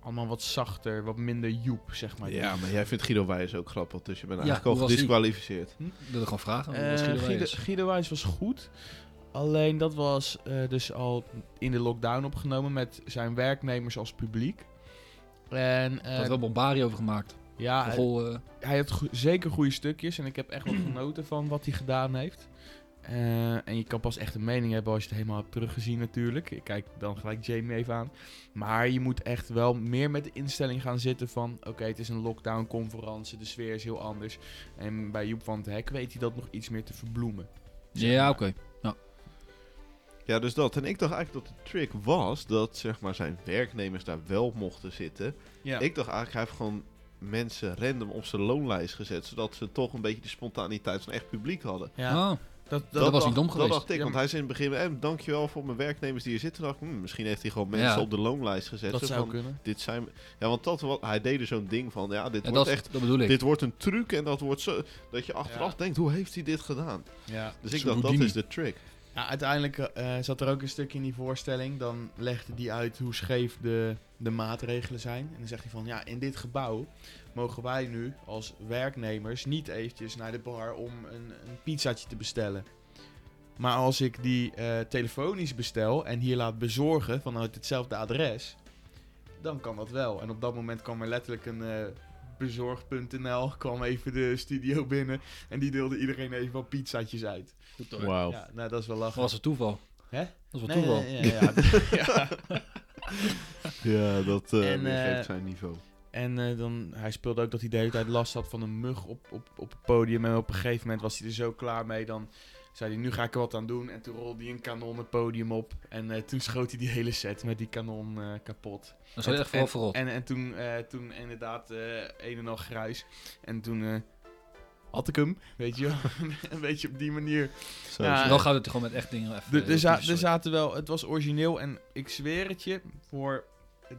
allemaal wat zachter, wat minder joep, zeg maar. Ja, maar jij vindt Guido Wijs ook grappig. Dus je bent Ja, eigenlijk al hoe was die? gedisqualificeerd. Ik wilde gewoon vragen. Eh, hoe was Oh, Guido Guido, Wijers? Guido Wijs was goed. Alleen dat was eh, dus al in de lockdown opgenomen met zijn werknemers als publiek. En eh, Ah, Daar had wel Bombari over gemaakt. ja, De hij- goal, eh, hij had goe- zeker goede stukjes en ik heb echt <clears throat> wat genoten van wat hij gedaan heeft. Eh, en je kan pas echt een mening hebben als je het helemaal hebt teruggezien natuurlijk. Ik kijk dan gelijk Jamie even aan. Maar je moet echt wel meer met de instelling gaan zitten van... Oké, het is een lockdown-conferentie, de sfeer is heel anders. En bij Joep van het Hek weet hij dat nog iets meer te verbloemen. zeg ja, maar. oké. Ja, dus dat. En ik dacht eigenlijk dat de trick was dat zeg maar, zijn werknemers daar wel mochten zitten. Ja. Ik dacht eigenlijk, hij heeft gewoon mensen random op zijn loonlijst gezet. Zodat ze toch een beetje de spontaniteit van echt publiek hadden. Ja, Oh, dat, dat, was dacht- niet dom Dat geweest. dacht ik, Ja, want maar- hij zei in het begin... Eh, dankjewel voor mijn werknemers die hier zitten. Dacht, ik, hm, misschien heeft hij gewoon mensen Ja. op de loonlijst gezet. dat Zo zou van, kunnen. dit zijn... Ja, want dat, wa- hij deed er zo'n ding van... Ja, dit Ja, dat, wordt is- echt... dat bedoel ik. Dit wordt een truc en dat wordt zo... Dat je achteraf denkt, hoe heeft hij dit gedaan? Ja. Dus ik Zo'n dacht, dat Houdini. is de trick. Ja, uiteindelijk eh, zat er ook een stukje in die voorstelling. Dan legde hij uit hoe scheef de, de maatregelen zijn. En dan zegt hij van, ja, in dit gebouw mogen wij nu als werknemers niet eventjes naar de bar om een, een pizzaatje te bestellen. Maar als ik die eh, telefonisch bestel en hier laat bezorgen vanuit hetzelfde adres, dan kan dat wel. En op dat moment kwam er letterlijk een eh, bezorg.nl, kwam even de studio binnen en die deelde iedereen even wat pizzaatjes uit. Goed hoor. Wauw. Ja, nou dat is wel Dat lachen. was een toeval. Hè? Dat was wel toeval. Nee, nee, ja, ja. Ja. Ja, dat eh En, weergeeft eh, zijn niveau. <laughs> En eh, dan, hij speelde ook dat hij de hele tijd last had van een mug op, op, op het podium. En op een gegeven moment was hij er zo klaar mee. Dan zei hij, nu ga ik er wat aan doen. En toen rolde hij een kanon het podium op. En eh, toen schoot hij die hele set met die kanon eh, kapot. Dat is wel En- echt vooral verrot. En, en toen, eh, toen inderdaad eh, een en al gruis. En toen eh, had ik hem, weet je wel. <laughs> een beetje op die manier. Zo, ja, zo. dan gaat het gewoon met echt dingen even... Er- eh, Er za- sorry. er zaten wel, het was origineel en ik zweer het je, voor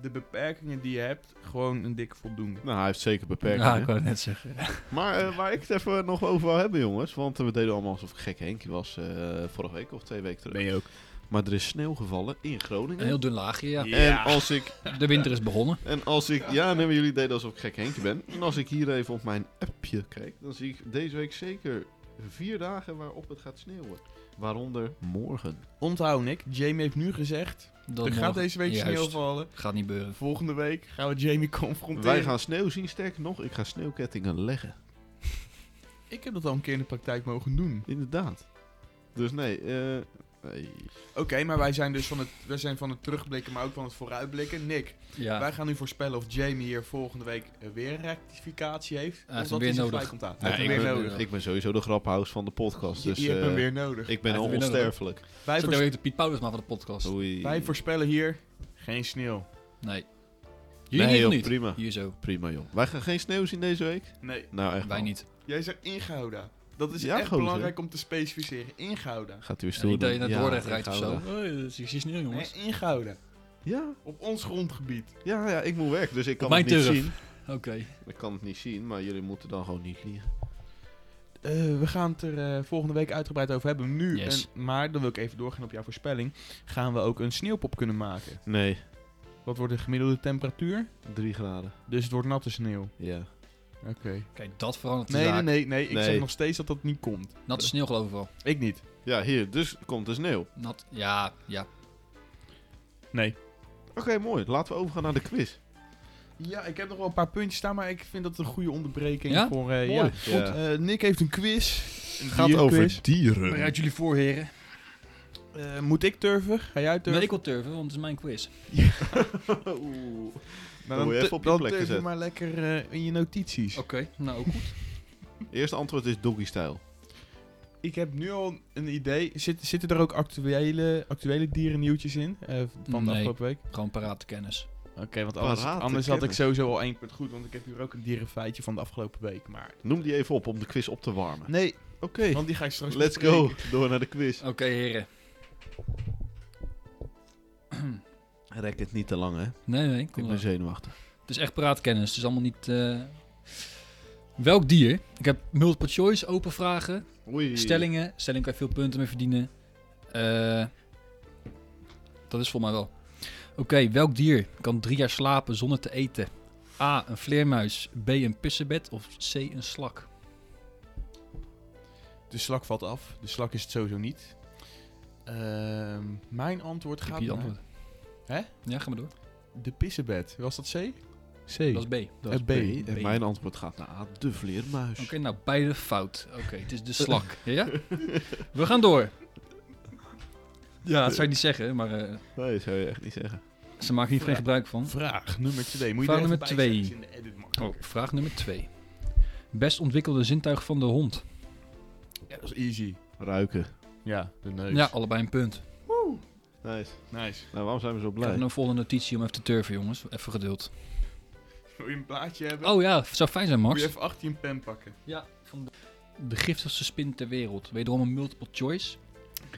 de beperkingen die je hebt, gewoon een dikke voldoende. Nou, hij heeft zeker beperkingen. Ja, ik wou het net zeggen. Maar eh, waar ik het even nog over wil hebben, jongens. Want eh, we deden allemaal alsof ik gek Henkie was eh, vorige week of twee weken terug. je ook. Maar er is sneeuw gevallen in Een Groningen. heel dun laagje, ja. Ja. En als ik... De winter is begonnen. En als ik ja, nee, maar jullie deden alsof ik gek Henkie ben. En als ik hier even op mijn appje kijk, dan zie ik deze week zeker vier dagen waarop het gaat sneeuwen. Waaronder morgen. Onthoud Nick, Jamie heeft nu gezegd, Dat er morgen- gaat deze week eh, Juist. sneeuw vallen. Gaat niet beuren. Volgende week gaan we Jamie <laughs> confronteren. Wij gaan sneeuw zien, sterker nog, ik ga sneeuwkettingen leggen. Ik heb dat al een keer in de praktijk mogen doen. Inderdaad. Dus nee, eh... nee. Oké, maar wij zijn dus van het, wij zijn van het terugblikken, maar ook van het vooruitblikken. Nick, Ja. wij gaan nu voorspellen of Jamie hier volgende week eh, weer een rectificatie heeft. hem of dat weer hij zich nodig. vrij komt aan. Hij Nee, Hij ik, heeft hem weer ben, nodig. nodig. ik ben sowieso de graphouse van de podcast. Je- Dus je hebt hem eh, weer nodig. ik ben Hij al heeft hem weer nodig. onsterfelijk. Wij Is dat voorspellen... weer de Piet Paulusma van de podcast? Oei. Wij voorspellen hier geen sneeuw. Nee. Jullie Nee, niet joh, of niet? prima. Hier zo. Prima, joh. Wij gaan geen sneeuw zien deze week. Nee. Nou, echt Wij wel. niet. Jij zegt ingouda. Dat is Ja, echt gozer. belangrijk om te specificeren. Ingouda. Gaat u weer Ja, stoer niet dat je naar doen. Dordrecht Ja, rijdt of zo. Gouda. Oh, dat is sneeuw, jongens. Nee, ingouda. Ja, Op ons grondgebied. ja, ja, ik moet werken, dus ik kan mijn het niet turf. zien. Oké. Ik kan het niet zien, maar jullie moeten dan gewoon niet liegen. Eh, we gaan het er eh, volgende week uitgebreid over hebben. Nu, Yes. een- maar dan wil ik even doorgaan op jouw voorspelling. Gaan we ook een sneeuwpop kunnen maken? Nee, Wat wordt de gemiddelde temperatuur? drie graden. Dus het wordt natte sneeuw. Ja. Oké. Kijk, dat verandert de Nee, nee, zaak. nee, nee. Ik Nee. zeg nog steeds dat dat niet komt. Natte sneeuw geloof ik wel. Ik niet. Ja, hier, dus komt de sneeuw. Nat, ja, ja. Nee. Oké, mooi. Laten we overgaan naar de quiz. Ja, ik heb nog wel een paar puntjes staan, maar ik vind dat een goede onderbreking Ja? voor... eh, Mooi. ja. Ja. Eh, Nick heeft een quiz. Een gaat dierenquiz. over dieren. Bereid jullie voor, heren. Eh, moet ik turven? Ga jij turven? Nee, ik wil turven, want het is mijn quiz. <laughs> Oeh. Nou, Dan moet je tu- even op je dan plek turf je gezet. maar lekker eh, in je notities. Oké, nou ook goed. Eerste antwoord is doggy-stijl. Ik heb nu al een idee. Zit, zitten er ook actuele, actuele dierennieuwtjes in eh, van de Nee. afgelopen week? <laughs> Gewoon paraat kennis. Oké, want anders, Parate anders had ik kennis. sowieso al één punt goed. Want ik heb hier ook een dierenfeitje van de afgelopen week. Maar Noem die even op om de quiz op te warmen. nee, Oké, want die ga ik Nou, straks let's go. bespreken. Door naar de quiz. Oké, heren. Rek het niet te lang, hè. Nee, nee, Ik kom ben maar. zenuwachtig. Het is echt paraatkennis. Het is allemaal niet... eh, Welk dier? Ik heb multiple choice, open vragen, Oei. stellingen. Stelling kan je veel punten mee verdienen. Eh, dat is voor mij wel. Oké, welk dier kan drie jaar slapen zonder te eten? A, een vleermuis. B, een pissebed. Of C, een slak? De slak valt af. De slak is het sowieso niet. Ehm, mijn antwoord Ik gaat heb je naar antwoord. Hè? Ja, ga maar door. de pissebed. Was dat C? C. Dat is B. Dat is B. B. En mijn antwoord gaat naar A, de vleermuis. Oké, nou, beide fout. Oké, het is de slak. ja? We gaan door. Ja, dat zou je niet zeggen, maar eh, Nee, dat zou je echt niet zeggen. ze maken hier geen gebruik van. Vraag nummer 2. Moet je Vraag er even nummer bij zetten, twee. is in de edit Oh, makkelijker. vraag nummer twee. Best ontwikkelde zintuig van de hond. Ja, dat is easy. Ruiken. Ja, de neus. Ja, allebei een punt. Nice. Nice. Nou, waarom zijn we zo Ik heb blij? een volgende notitie om even te turven, jongens. Even geduld. Wil je een plaatje hebben? Oh ja, zou fijn zijn, Moet Max. je even 18 pen pakken. Ja, van de... de giftigste spin ter wereld. Wederom een multiple choice.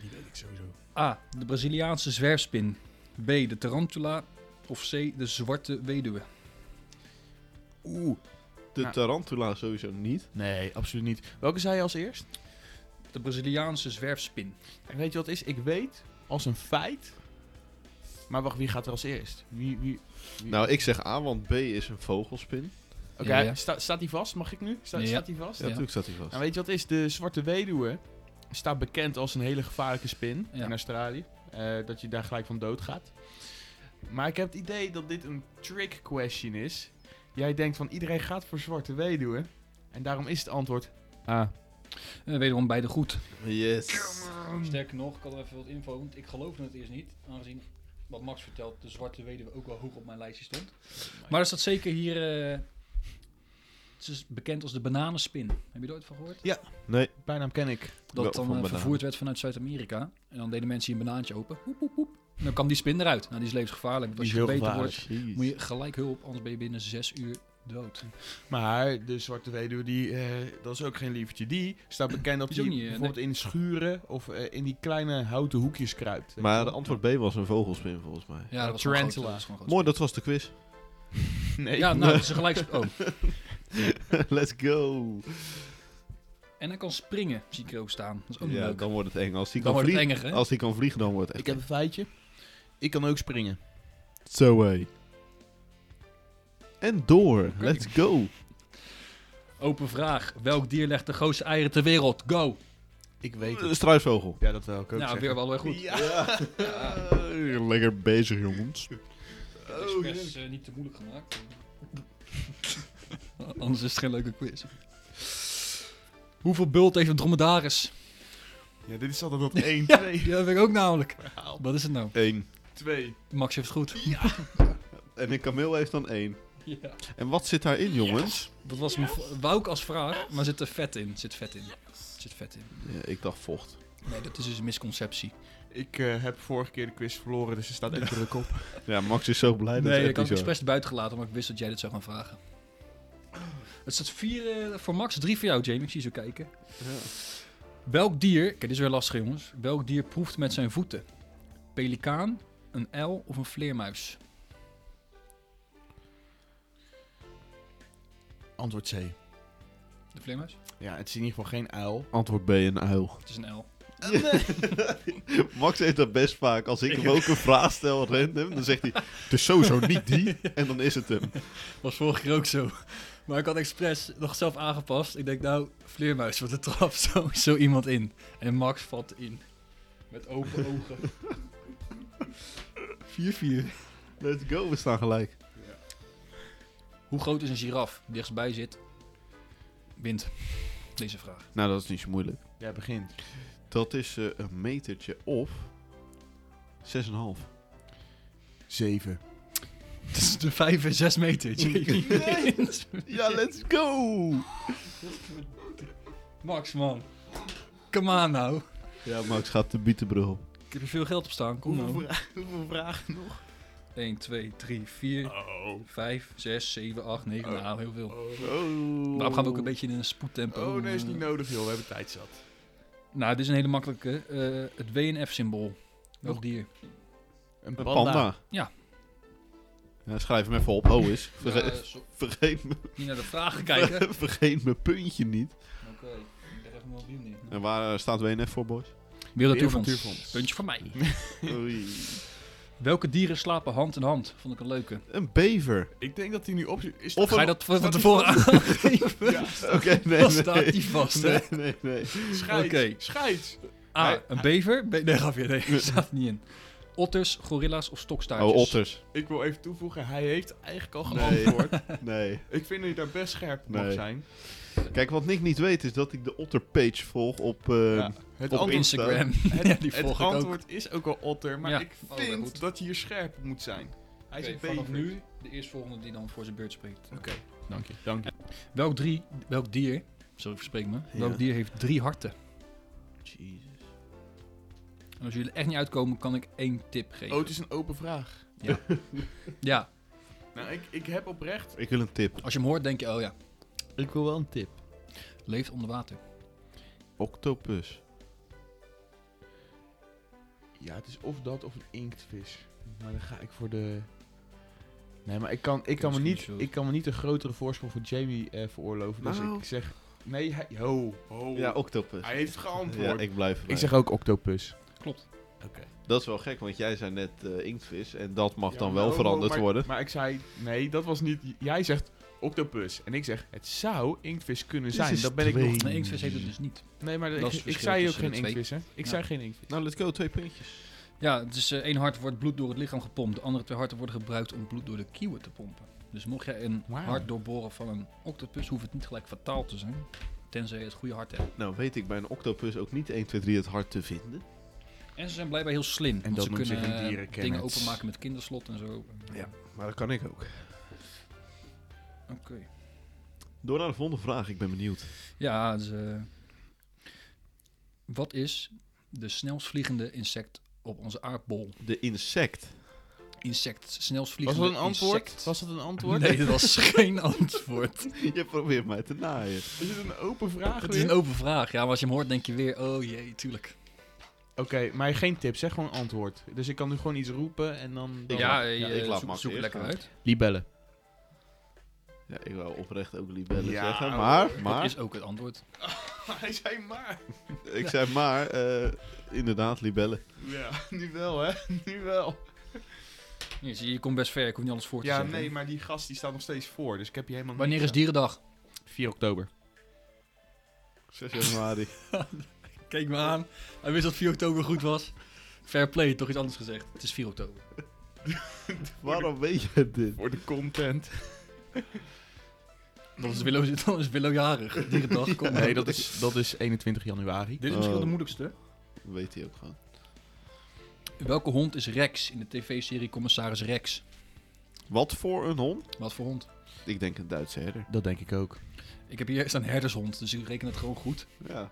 Die weet ik sowieso. A. De Braziliaanse zwerfspin. B. De tarantula. Of C. De zwarte weduwe. Oeh. De Nou. tarantula sowieso niet. Nee, absoluut niet. Welke zei je als eerst? De Braziliaanse zwerfspin. En weet je wat het is? Ik weet als een feit. Maar wacht, wie gaat er als eerst? Wie, wie, wie- Nou, ik zeg A, want B is een vogelspin. Oké, Ja, ja. sta- staat die vast? Mag ik nu? Sta- Ja. Staat die vast? Ja, natuurlijk zat hij vast. Nou, weet je wat het is? De Zwarte Weduwe staat bekend als een hele gevaarlijke spin Ja. in Australië. Eh, dat je daar gelijk van doodgaat. Maar ik heb het idee dat dit een trick question is. Jij denkt van iedereen gaat voor Zwarte Weduwe. En daarom is het antwoord ah, A. Eh, wederom beide goed. Yes. Sterker nog, ik had er even wat info, want ik geloofde het eerst niet. Aangezien wat Max vertelt, de zwarte weduwe ook wel hoog op mijn lijstje stond. Maar er staat zeker hier... eh, het is bekend als de bananenspin. Heb je er ooit van gehoord? Nee. Bijnaam ken ik. Dat Wel, het dan van eh, bananen. vervoerd werd vanuit Zuid-Amerika. En dan deden mensen hier een banaantje open. Hoep, hoep, hoep. En dan kwam die spin eruit. Nou, die is levensgevaarlijk. Want als je gebeten wordt, moet je gelijk hulp. Anders ben je binnen zes uur dood. Maar de Zwarte Weduwe, die, eh, dat is ook geen lievertje. Die staat bekend dat Die is hij ook niet, eh, bijvoorbeeld in schuren of eh, in die kleine houten hoekjes kruipt. Eh, Maar de antwoord B was een vogelspin volgens mij. Ja, dat was gewoon tarantula. groot, dat was gewoon groot. Mooi, dat was de quiz. Nee. Ja, nou, dat is een gelijk... Oh. <laughs> Let's go. En hij kan springen, zie ik er ook staan. Dat is ook Ja, leuk. Dan, dan wordt het eng. Als die kan wordt het vliegen, enger, hè? als die kan vliegen dan wordt het <laughs> Ik echt heb een feitje. Ik kan ook springen. Zo hé. En door. Let's go. Open vraag. Welk dier legt de grootste eieren ter wereld? Go! Ik weet Een het. struisvogel. Ja, dat wil ik ook nou, zeggen. weer wel weer goed. Lekker bezig, jongens. Het is best eh, niet te moeilijk gemaakt. <laughs> Anders is het geen leuke quiz. Hoeveel bult heeft een dromedaris? Ja, dit is <laughs> altijd dat 1, 2, Ja, dat weet ik ook namelijk. verhaal. Wat is het nou? Eén. 2. Max heeft het goed. En een kameel heeft dan één. Ja. En wat zit daarin, jongens? Dat was mijn... v- Wou ik als vraag, maar zit er vet in. Zit vet in. Zit vet in. Ja, ik dacht vocht. Nee, dat is dus een misconceptie. Ik eh, heb vorige keer de quiz verloren, dus er staat echt druk op. Ja, Max is zo blij dat Nee, hij ik had het expres buiten gelaten, maar ik wist dat jij dit zou gaan vragen. Het staat vier eh, voor Max, drie voor jou, Jamie. Ik zie je zo kijken. Welk dier, kijk, dit is weer lastig, jongens. Welk dier proeft met zijn voeten? Pelikaan, een uil of een vleermuis? Antwoord C. De vleermuis? Ja, het is in ieder geval geen uil. Antwoord B, een uil. Het is een uil. <laughs> Max heeft dat best vaak. Als ik hem ook een vraag stel, random, dan zegt hij... Het is sowieso niet <laughs> die. En dan is het hem. Was vorige keer ook zo. Maar ik had expres nog zelf aangepast. Ik denk, nou, vleermuis, want er trapt zo, zo iemand in. En Max valt in. Met open ogen. <laughs> 4-4. Let's go, we staan gelijk. Hoe groot is een giraf die dichtstbij zit? Wint. Deze vraag. <laughs> Nou, dat is niet zo moeilijk. Jij begint. Dat is eh, een metertje of 6,5. 7. Het is de 5 en 6 <laughs> meter. Ja, let's go! Max, man. Come on nou. Ja, Max gaat de bietenbrug op. Ik heb hier veel geld op staan. Kom nou. Hoeveel vragen nog? 1, 2, 3, 4, Oh. 5, 6, 7, 8, 9. Oh. Nou, heel veel. Oh. Daarom gaan we ook een beetje in een spoedtempo. Oh, nee, is niet eh. nodig, joh. We hebben tijd zat. Nou, dit is een hele makkelijke. Eh, het WNF-symbool. Welk Oh. dier? Een Een panda. Ja. Ja, schrijf hem even op. Oh is. Verge- Ja, eh, zo- vergeet, me, niet naar de <laughs> vragen <laughs> kijken. vergeet mijn puntje niet. Oké, ik leg even mijn mobiel neer. En waar eh, staat WNF voor, boys? Wereld Wereld Natuurfonds. Natuurfonds. Puntje van mij. Oei. Welke dieren slapen hand in hand? Vond ik een leuke. Een <laughs> bever. Ik denk dat hij nu op... Is Of Ga je een... dat van staat die tevoren aangeven? Ja, Oké, nee, Dan nee. <laughs> staat die vast, hè? Nee, nee, nee. <laughs> scheids. Oké. Scheids. A, Hij- een bever. Be- nee, grapje, nee, staat er niet in. Otters, gorilla's of stokstaartjes? Oh, <laughs> otters. Ik wil even toevoegen, hij heeft eigenlijk al Nee. geantwoord. Nee. Ik vind dat je daar best scherp op mag Nee. zijn. Kijk, wat Nick niet weet is dat ik de otterpage volg op... eh, Ja, Het op antwoord- Op eh, Instagram. Het, <laughs> ja, die het volg ik ook. antwoord is ook al otter, maar Ja. ik Oh, vind goed. dat je hier scherp op moet zijn. Hij is Oké, een vanaf bever. nu de eerstvolgende die dan voor zijn beurt spreekt. Oké, dank je. Dank je. Welk, drie, welk dier, sorry ik verspreek me, Ja. welk dier heeft drie harten? Jezus. En als jullie er echt niet uitkomen, kan ik één tip geven. Oh, het is een open vraag. Ja, Nou, ik, ik heb oprecht... Ik wil een tip. als je hem hoort, denk je, oh ja, Ik wil wel een tip. leeft onder water. Octopus. Ja, het is of dat of een inktvis. Maar dan ga ik voor de... Nee, maar ik kan, ik kan, me, Misschien niet, zo. ik kan me niet een grotere voorsprong voor Jamie eh, veroorloven. Dus Nou. ik zeg... Nee, hij... Ho, ho. Ja, octopus. hij heeft geantwoord. Ja, ik, ik blijf erbij. zeg ook octopus. Klopt. Oké. Dat is wel gek, want jij zei net eh, inktvis en dat mag Ja, dan maar wel ho, ho, veranderd maar- worden. Maar ik zei... Nee, dat was niet... Jij zegt octopus. En ik zeg, het zou inktvis kunnen Dit zijn. is Dat ben ik twee. nog... Nee, inktvis heeft het dus niet. Nee, maar is ik, het ik verschil zei ook tussen geen de twee. inktvis, hè? Ik Ja. zei geen inktvis. Nou, let's go, twee puntjes. Ja, het is eh, één hart wordt bloed door het lichaam gepompt. De andere twee harten worden gebruikt om bloed door de kieuwen te pompen. Dus mocht jij een Wauw. hart doorboren van een octopus, hoeft het niet gelijk fataal te zijn. Tenzij je het goede hart hebt. Nou, weet ik bij een octopus ook niet 1, 2, 3 het hart te vinden. En ze zijn blijkbaar heel slim. want dat ze noemt zich kunnen een eh, dierenkennet. dingen openmaken met kinderslot en zo. Maar dat kan ik ook. Oké. Door naar de volgende vraag, ik ben benieuwd. Ja, dus, eh, wat is de snelst vliegende insect op onze aardbol? De insect. <laughs> Insect, snelst Was vliegende dat een antwoord? <laughs> insect. Was dat een antwoord? Nee, dat was <laughs> geen antwoord. Je probeert mij te naaien. Is het een open vraag Het weer? is een open vraag. Ja, maar als je hem hoort, denk je weer, oh jee, tuurlijk. Oké, maar geen tip, zeg gewoon antwoord. Dus ik kan nu gewoon iets roepen en dan... dan- ja, laat- eh, ja, je ik laat zoek, Max zoek eerst lekker gaan. uit. Libellen. Ja, ik wou oprecht ook libellen Ja, zeggen, hoor. maar, Dat oh, Dat maar, is ook het antwoord. <laughs> Hij zei maar. ik zei maar, eh, inderdaad, libellen. Ja, <laughs> nu wel hè, nu wel. Je, zie, je komt best ver, ik hoef niet alles voor te Ja, zeggen. nee, maar die gast die staat nog steeds voor, dus ik heb je helemaal Wanneer is die? dierendag? 4 oktober. 6 <laughs> januari. Kijk me aan. Hij wist dat 4 oktober goed was. Fair play, toch iets anders gezegd. Het is 4 oktober. Waarom weet je dit? Voor de content. Dan is Willow, <laughs> dan is Willow jarig. Dierendag, <laughs> kom Nee, Eh. dat is, dat is 21 januari. Dit is misschien wel de moeilijkste. Weet hij ook gewoon. Welke hond is Rex in de tv-serie Commissaris Rex? Wat voor een hond? Wat voor hond? Ik denk een Duitse herder. Dat denk ik ook. Ik heb hier staan herdershond, dus ik reken het gewoon goed. <laughs> Ja.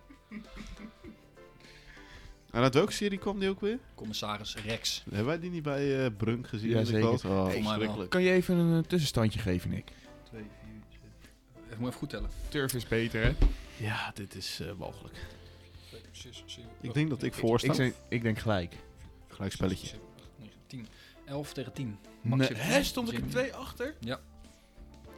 En uit welke serie kwam die ook weer? Commissaris Rex. Hebben wij die niet bij eh, Brunk gezien? Ja, in de zeker. klas? Oh, Volgens mij wel. verschrikkelijk. Kan je even een eh, tussenstandje geven, Nick? 2, 4, 6. Ik moet even goed tellen. Turf is beter hè? Ja, dit is eh mogelijk. 2, 6, 7, Ik denk dat ik voor sta. Ik, zeg- ik denk gelijk. Gelijk spelletje. 10. 11 tegen 10. Max Nee, heeft- hè, stond ik er Jimmy. twee achter? Ja.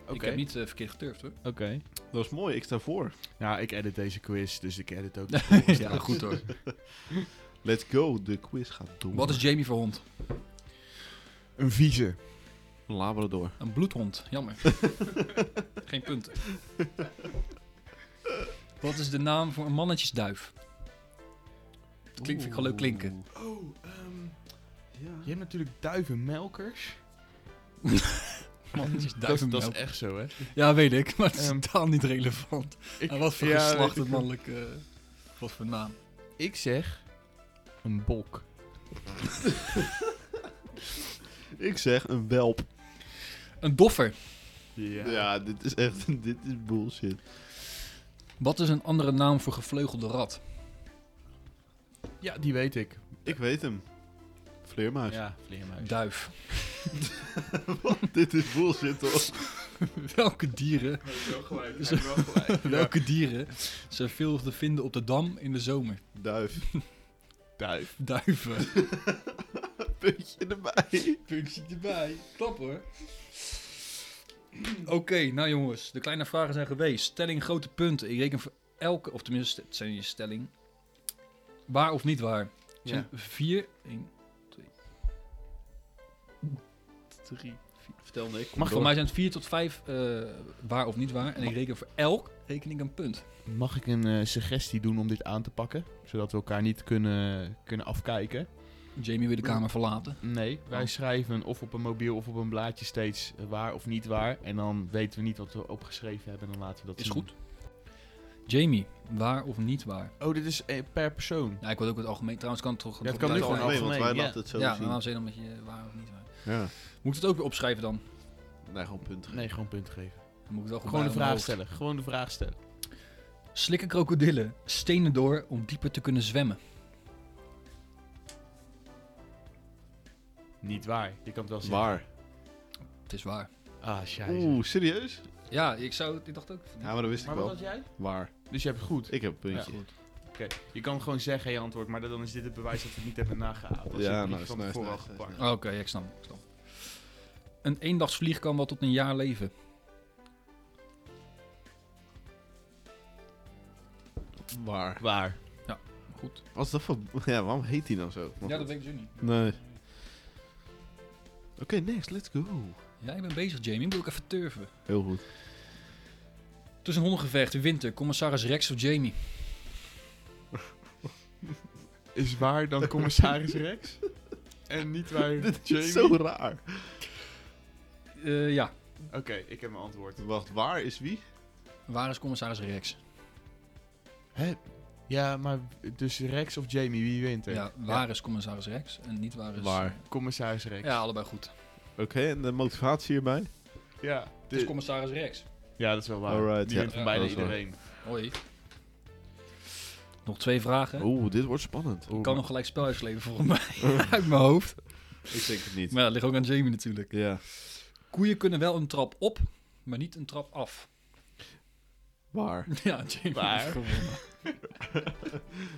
Oké. Ik heb niet eh, verkeerd geturfd hoor. Oké. Dat is mooi, ik sta voor. Nou, ik edit deze quiz, dus ik edit <laughs> ook. ja, goed hoor. Let's go, de quiz gaat door. Wat is Jamie voor hond? Een vieze. Een Labrador. Een bloedhond, <laughs> jammer. Geen punten. Wat is de naam voor een mannetjesduif? Dat klinkt, vind ik wel leuk klinken. Oh, ehm, je Ja. hebt natuurlijk duivenmelkers. <laughs> Mannetjesduif. dat, dat is echt zo, hè? Ja, weet ik, maar het is Ehm, totaal niet relevant. ik- En wat voor ja, weet geslacht ik het mannelijk... eh, wat voor naam? Ik zeg een bok. Ik zeg een welp. Een doffer. Ja. Ja, dit is echt, <laughs> dit is bullshit. Wat is een andere naam voor gevleugelde rat? Ja, die weet ik. Ik weet hem. Vleermuis. Ja, vleermuis. Duif. <laughs> <laughs> dit is bullshit hoor. Welke dieren, wel gelijk. hij heeft welke dieren zijn veel te vinden op de dam in de zomer? <laughs> Duif. Duif. Duiven. <laughs> Puntje erbij. Puntje erbij. Klap hoor. <clears throat> Oké, nou jongens, de kleine vragen zijn geweest. Stelling, grote punten. Ik reken voor elke, of tenminste, het zijn je stelling. Waar of niet waar? Het zijn vier. 1, 2, 3, Vertel Nick. Mag voor mij zijn het vier tot vijf eh, waar of niet waar. En ik reken voor elk reken ik een punt. Mag ik een eh, suggestie doen om dit aan te pakken? Zodat we elkaar niet kunnen, kunnen afkijken. Jamie wil de kamer verlaten. Nee, wij Oh. schrijven of op een mobiel of op een blaadje steeds eh, waar of niet waar. En dan weten we niet wat we opgeschreven hebben en dan laten we dat Is zien. goed. Jamie, waar of niet waar? Oh, dit is eh, per persoon. Nou, ik wil ook het algemeen. Trouwens, kan het toch... Ja, het kan nu gewoon algemeen, want wij algemeen, ja. laten het zo Ja, maar zien. waarom zei je dan met je waar of niet waar? Ja. Moet ik het ook weer opschrijven dan? Nee, gewoon punten. Nee, gewoon punten geven. Dan moet ik het wel goed Gewoon de bij mijn vraag hoofd. stellen. Gewoon de vraag stellen. Slikken krokodillen stenen door om dieper te kunnen zwemmen? Niet waar. Je kan het wel zien. Waar? Het is waar. Ah, scheisse. Oeh, serieus? Ja, ik, zou, ik dacht ook. Ja, maar dat wist Maar ik wat wel. had jij? Waar? Dus je hebt het goed. Ik heb een puntje. goed. Oké. Je kan gewoon zeggen je antwoord, maar dan is dit het bewijs dat we het niet hebben nagehaald. Dat is een Ja, brief nice, van nice, tevoren nice, al nice, gepakt. Oké, ik snap. Ik snap. Een eendagsvlieg kan wel tot een jaar leven. Waar? Waar? Goed. Wat is dat voor... <laughs> Ja, waarom heet hij dan zo? Maar goed. weet ik dus niet. Nee. Oké, next, let's go. Ja, ik ben bezig, Jamie. Moet ik even turven. Heel goed. Tussen een hondengevecht, in winter, commissaris Rex of Jamie. Is waar dan commissaris Rex? En niet waar <laughs> Dit Jamie? is zo raar. Eh, ja, Oké, ik heb mijn antwoord. Wacht, waar is wie? waar is commissaris Rex? Ja, maar dus Rex of Jamie, wie wint er? Ja, waar is commissaris Rex en niet waar is... Waar? Commissaris Rex. Ja, allebei goed. Dus- Oké, en de motivatie hierbij? Ja, dus Het is commissaris Rex. ja dat is wel waar. Alright, die ja. wint van Dus Ja, bijna dat is waar. iedereen. Hoi. Nog twee vragen. Oeh, dit wordt spannend. Ik kan nog gelijk spel uitsleveren volgens mij. <laughs> Uit mijn hoofd. Ik denk het niet. Maar ja, dat ligt ook aan Jamie natuurlijk. Ja. Koeien kunnen wel een trap op, maar niet een trap af. <laughs> Waar? Ja, Jamie. Waar? heeft gewonnen.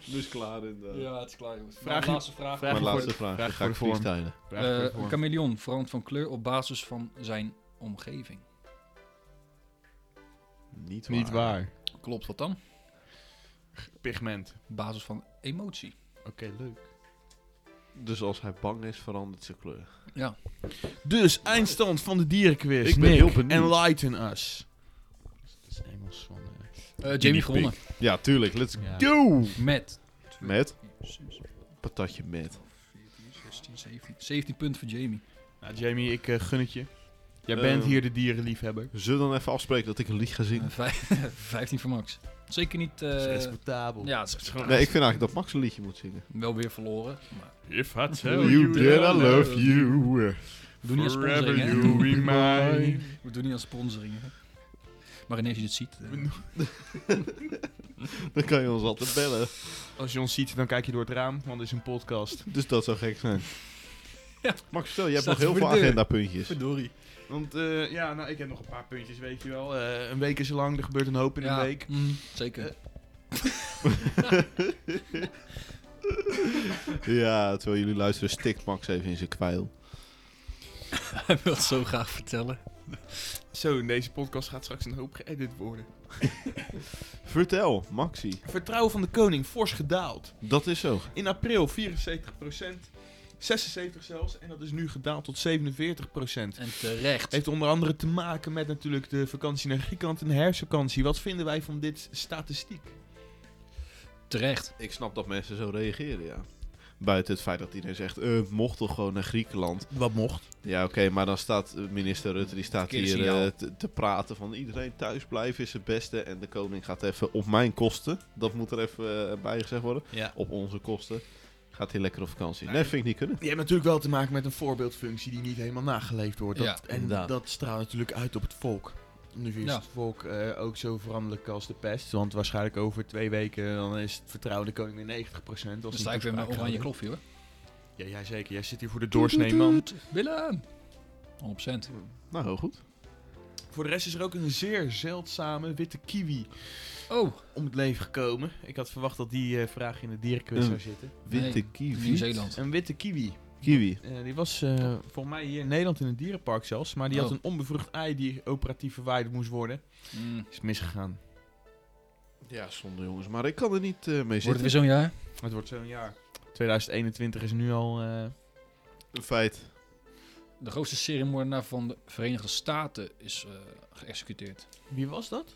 Dus klaar in de... <laughs> Ja, het is klaar jongens. Vraag- Vraag, laatste vraag. vraag- Mijn voor laatste de- vraag. vraag Dan ga voor ik de vorm. freestylen. Vraag Eh, voor een vorm. chameleon verandert van kleur op basis van zijn omgeving. Niet waar. Niet waar. Klopt, wat dan? Pigment. Op basis van emotie. Oké, leuk. Dus als hij bang is, verandert zijn kleur. Ja. Dus, eindstand van de dierenquiz. Ik ben Nick, heel benieuwd. Enlighten us. Dat is Engels van... eh, Eh, Jamie gewonnen. Ja, tuurlijk. Let's Ja. go! Met Met? 6, Patatje met. 14, 16, 17. 17 punten voor Jamie. Nou, Jamie, ik eh, gun het je. Jij Eh, Ehm. bent hier de dierenliefhebber. Zullen we dan even afspreken dat ik een lied ga Eh, zingen? <laughs> vijf- 15 voor Max. Zeker niet. eh, Dat is respectabel. ja, het is gewoon Nee, ik vind eigenlijk dat Max een liedje moet zingen. wel weer verloren. Maar If I tell Oh, you that I love you. we doen niet aan sponsoring, hè? We doen niet aan sponsoring, hè? Maar ineens je het ziet. eh, Dan kan je ons altijd bellen. Als je ons ziet, dan kijk je door het raam, want het is een podcast. Dus dat zou gek zijn. Ja. Max, stel, je hebt Staat nog heel voor de veel deur. agendapuntjes. <laughs> Verdorie. Want eh, ja, nou, ik heb nog een paar puntjes, weet je wel. Eh, een week is lang, er gebeurt een hoop in een week. mm, zeker. Ja, terwijl jullie luisteren, stikt Max even in zijn kwijl. <laughs> Hij wil het zo graag vertellen. Zo, in deze podcast gaat straks een hoop geëdit worden. Vertel, Maxi. Vertrouwen van de koning, fors gedaald. Dat is zo. In april 74 76 zelfs, en dat is nu gedaald tot 47 En terecht. Heeft onder andere te maken met natuurlijk de vakantie naar Griekenland en de herfstvakantie. Wat vinden wij van dit statistiek? Terecht. Ik snap dat mensen zo reageren, ja. Buiten het feit dat iedereen zegt, eh, mocht toch gewoon naar Griekenland. Wat mocht? Ja, oké, maar dan staat eh, minister Rutte, die staat Verkeerde hier signaal. eh, te, te praten van iedereen thuis blijven is het beste. En de koning gaat even op mijn kosten, dat moet er even eh, bij gezegd worden, Ja. op onze kosten. Gaat hij lekker op vakantie. Nou, Nee, vind ik niet kunnen. Je hebt natuurlijk wel te maken met een voorbeeldfunctie die niet helemaal nageleefd wordt. Dat, Ja, en inderdaad. dat straalt natuurlijk uit op het volk. Nu is Ja. het volk eh, ook zo veranderlijk als de pest. Want waarschijnlijk over twee weken dan is het vertrouwen in de koning weer 90%. Als Dan een sta ik weer met toespraak oranje gaat. kloffie hoor. Ja, jij zeker. Jij zit hier voor de doorsnee, man. Toet, toet. Willem! 100%. Nou, heel goed. Voor de rest is er ook een zeer zeldzame witte kiwi Oh, om het leven gekomen. Ik had verwacht dat die eh, vraag in de dierenquiz Een zou zitten. Witte Nee, kiwi. Nieuw-Zeeland. Een witte kiwi. Kiwi. Eh, die was eh volgens mij hier in Nederland in een dierenpark zelfs. Maar die had Oh. een onbevrucht ei die operatief verwijderd moest worden. Mm. Is misgegaan. Ja, zonde jongens, maar ik kan er niet eh, mee Wordt het weer zitten. zo'n jaar? Het wordt zo'n jaar. 2021 is nu al... eh, Een feit. De grootste seriemoordenaar van de Verenigde Staten is eh, geëxecuteerd. Wie was dat?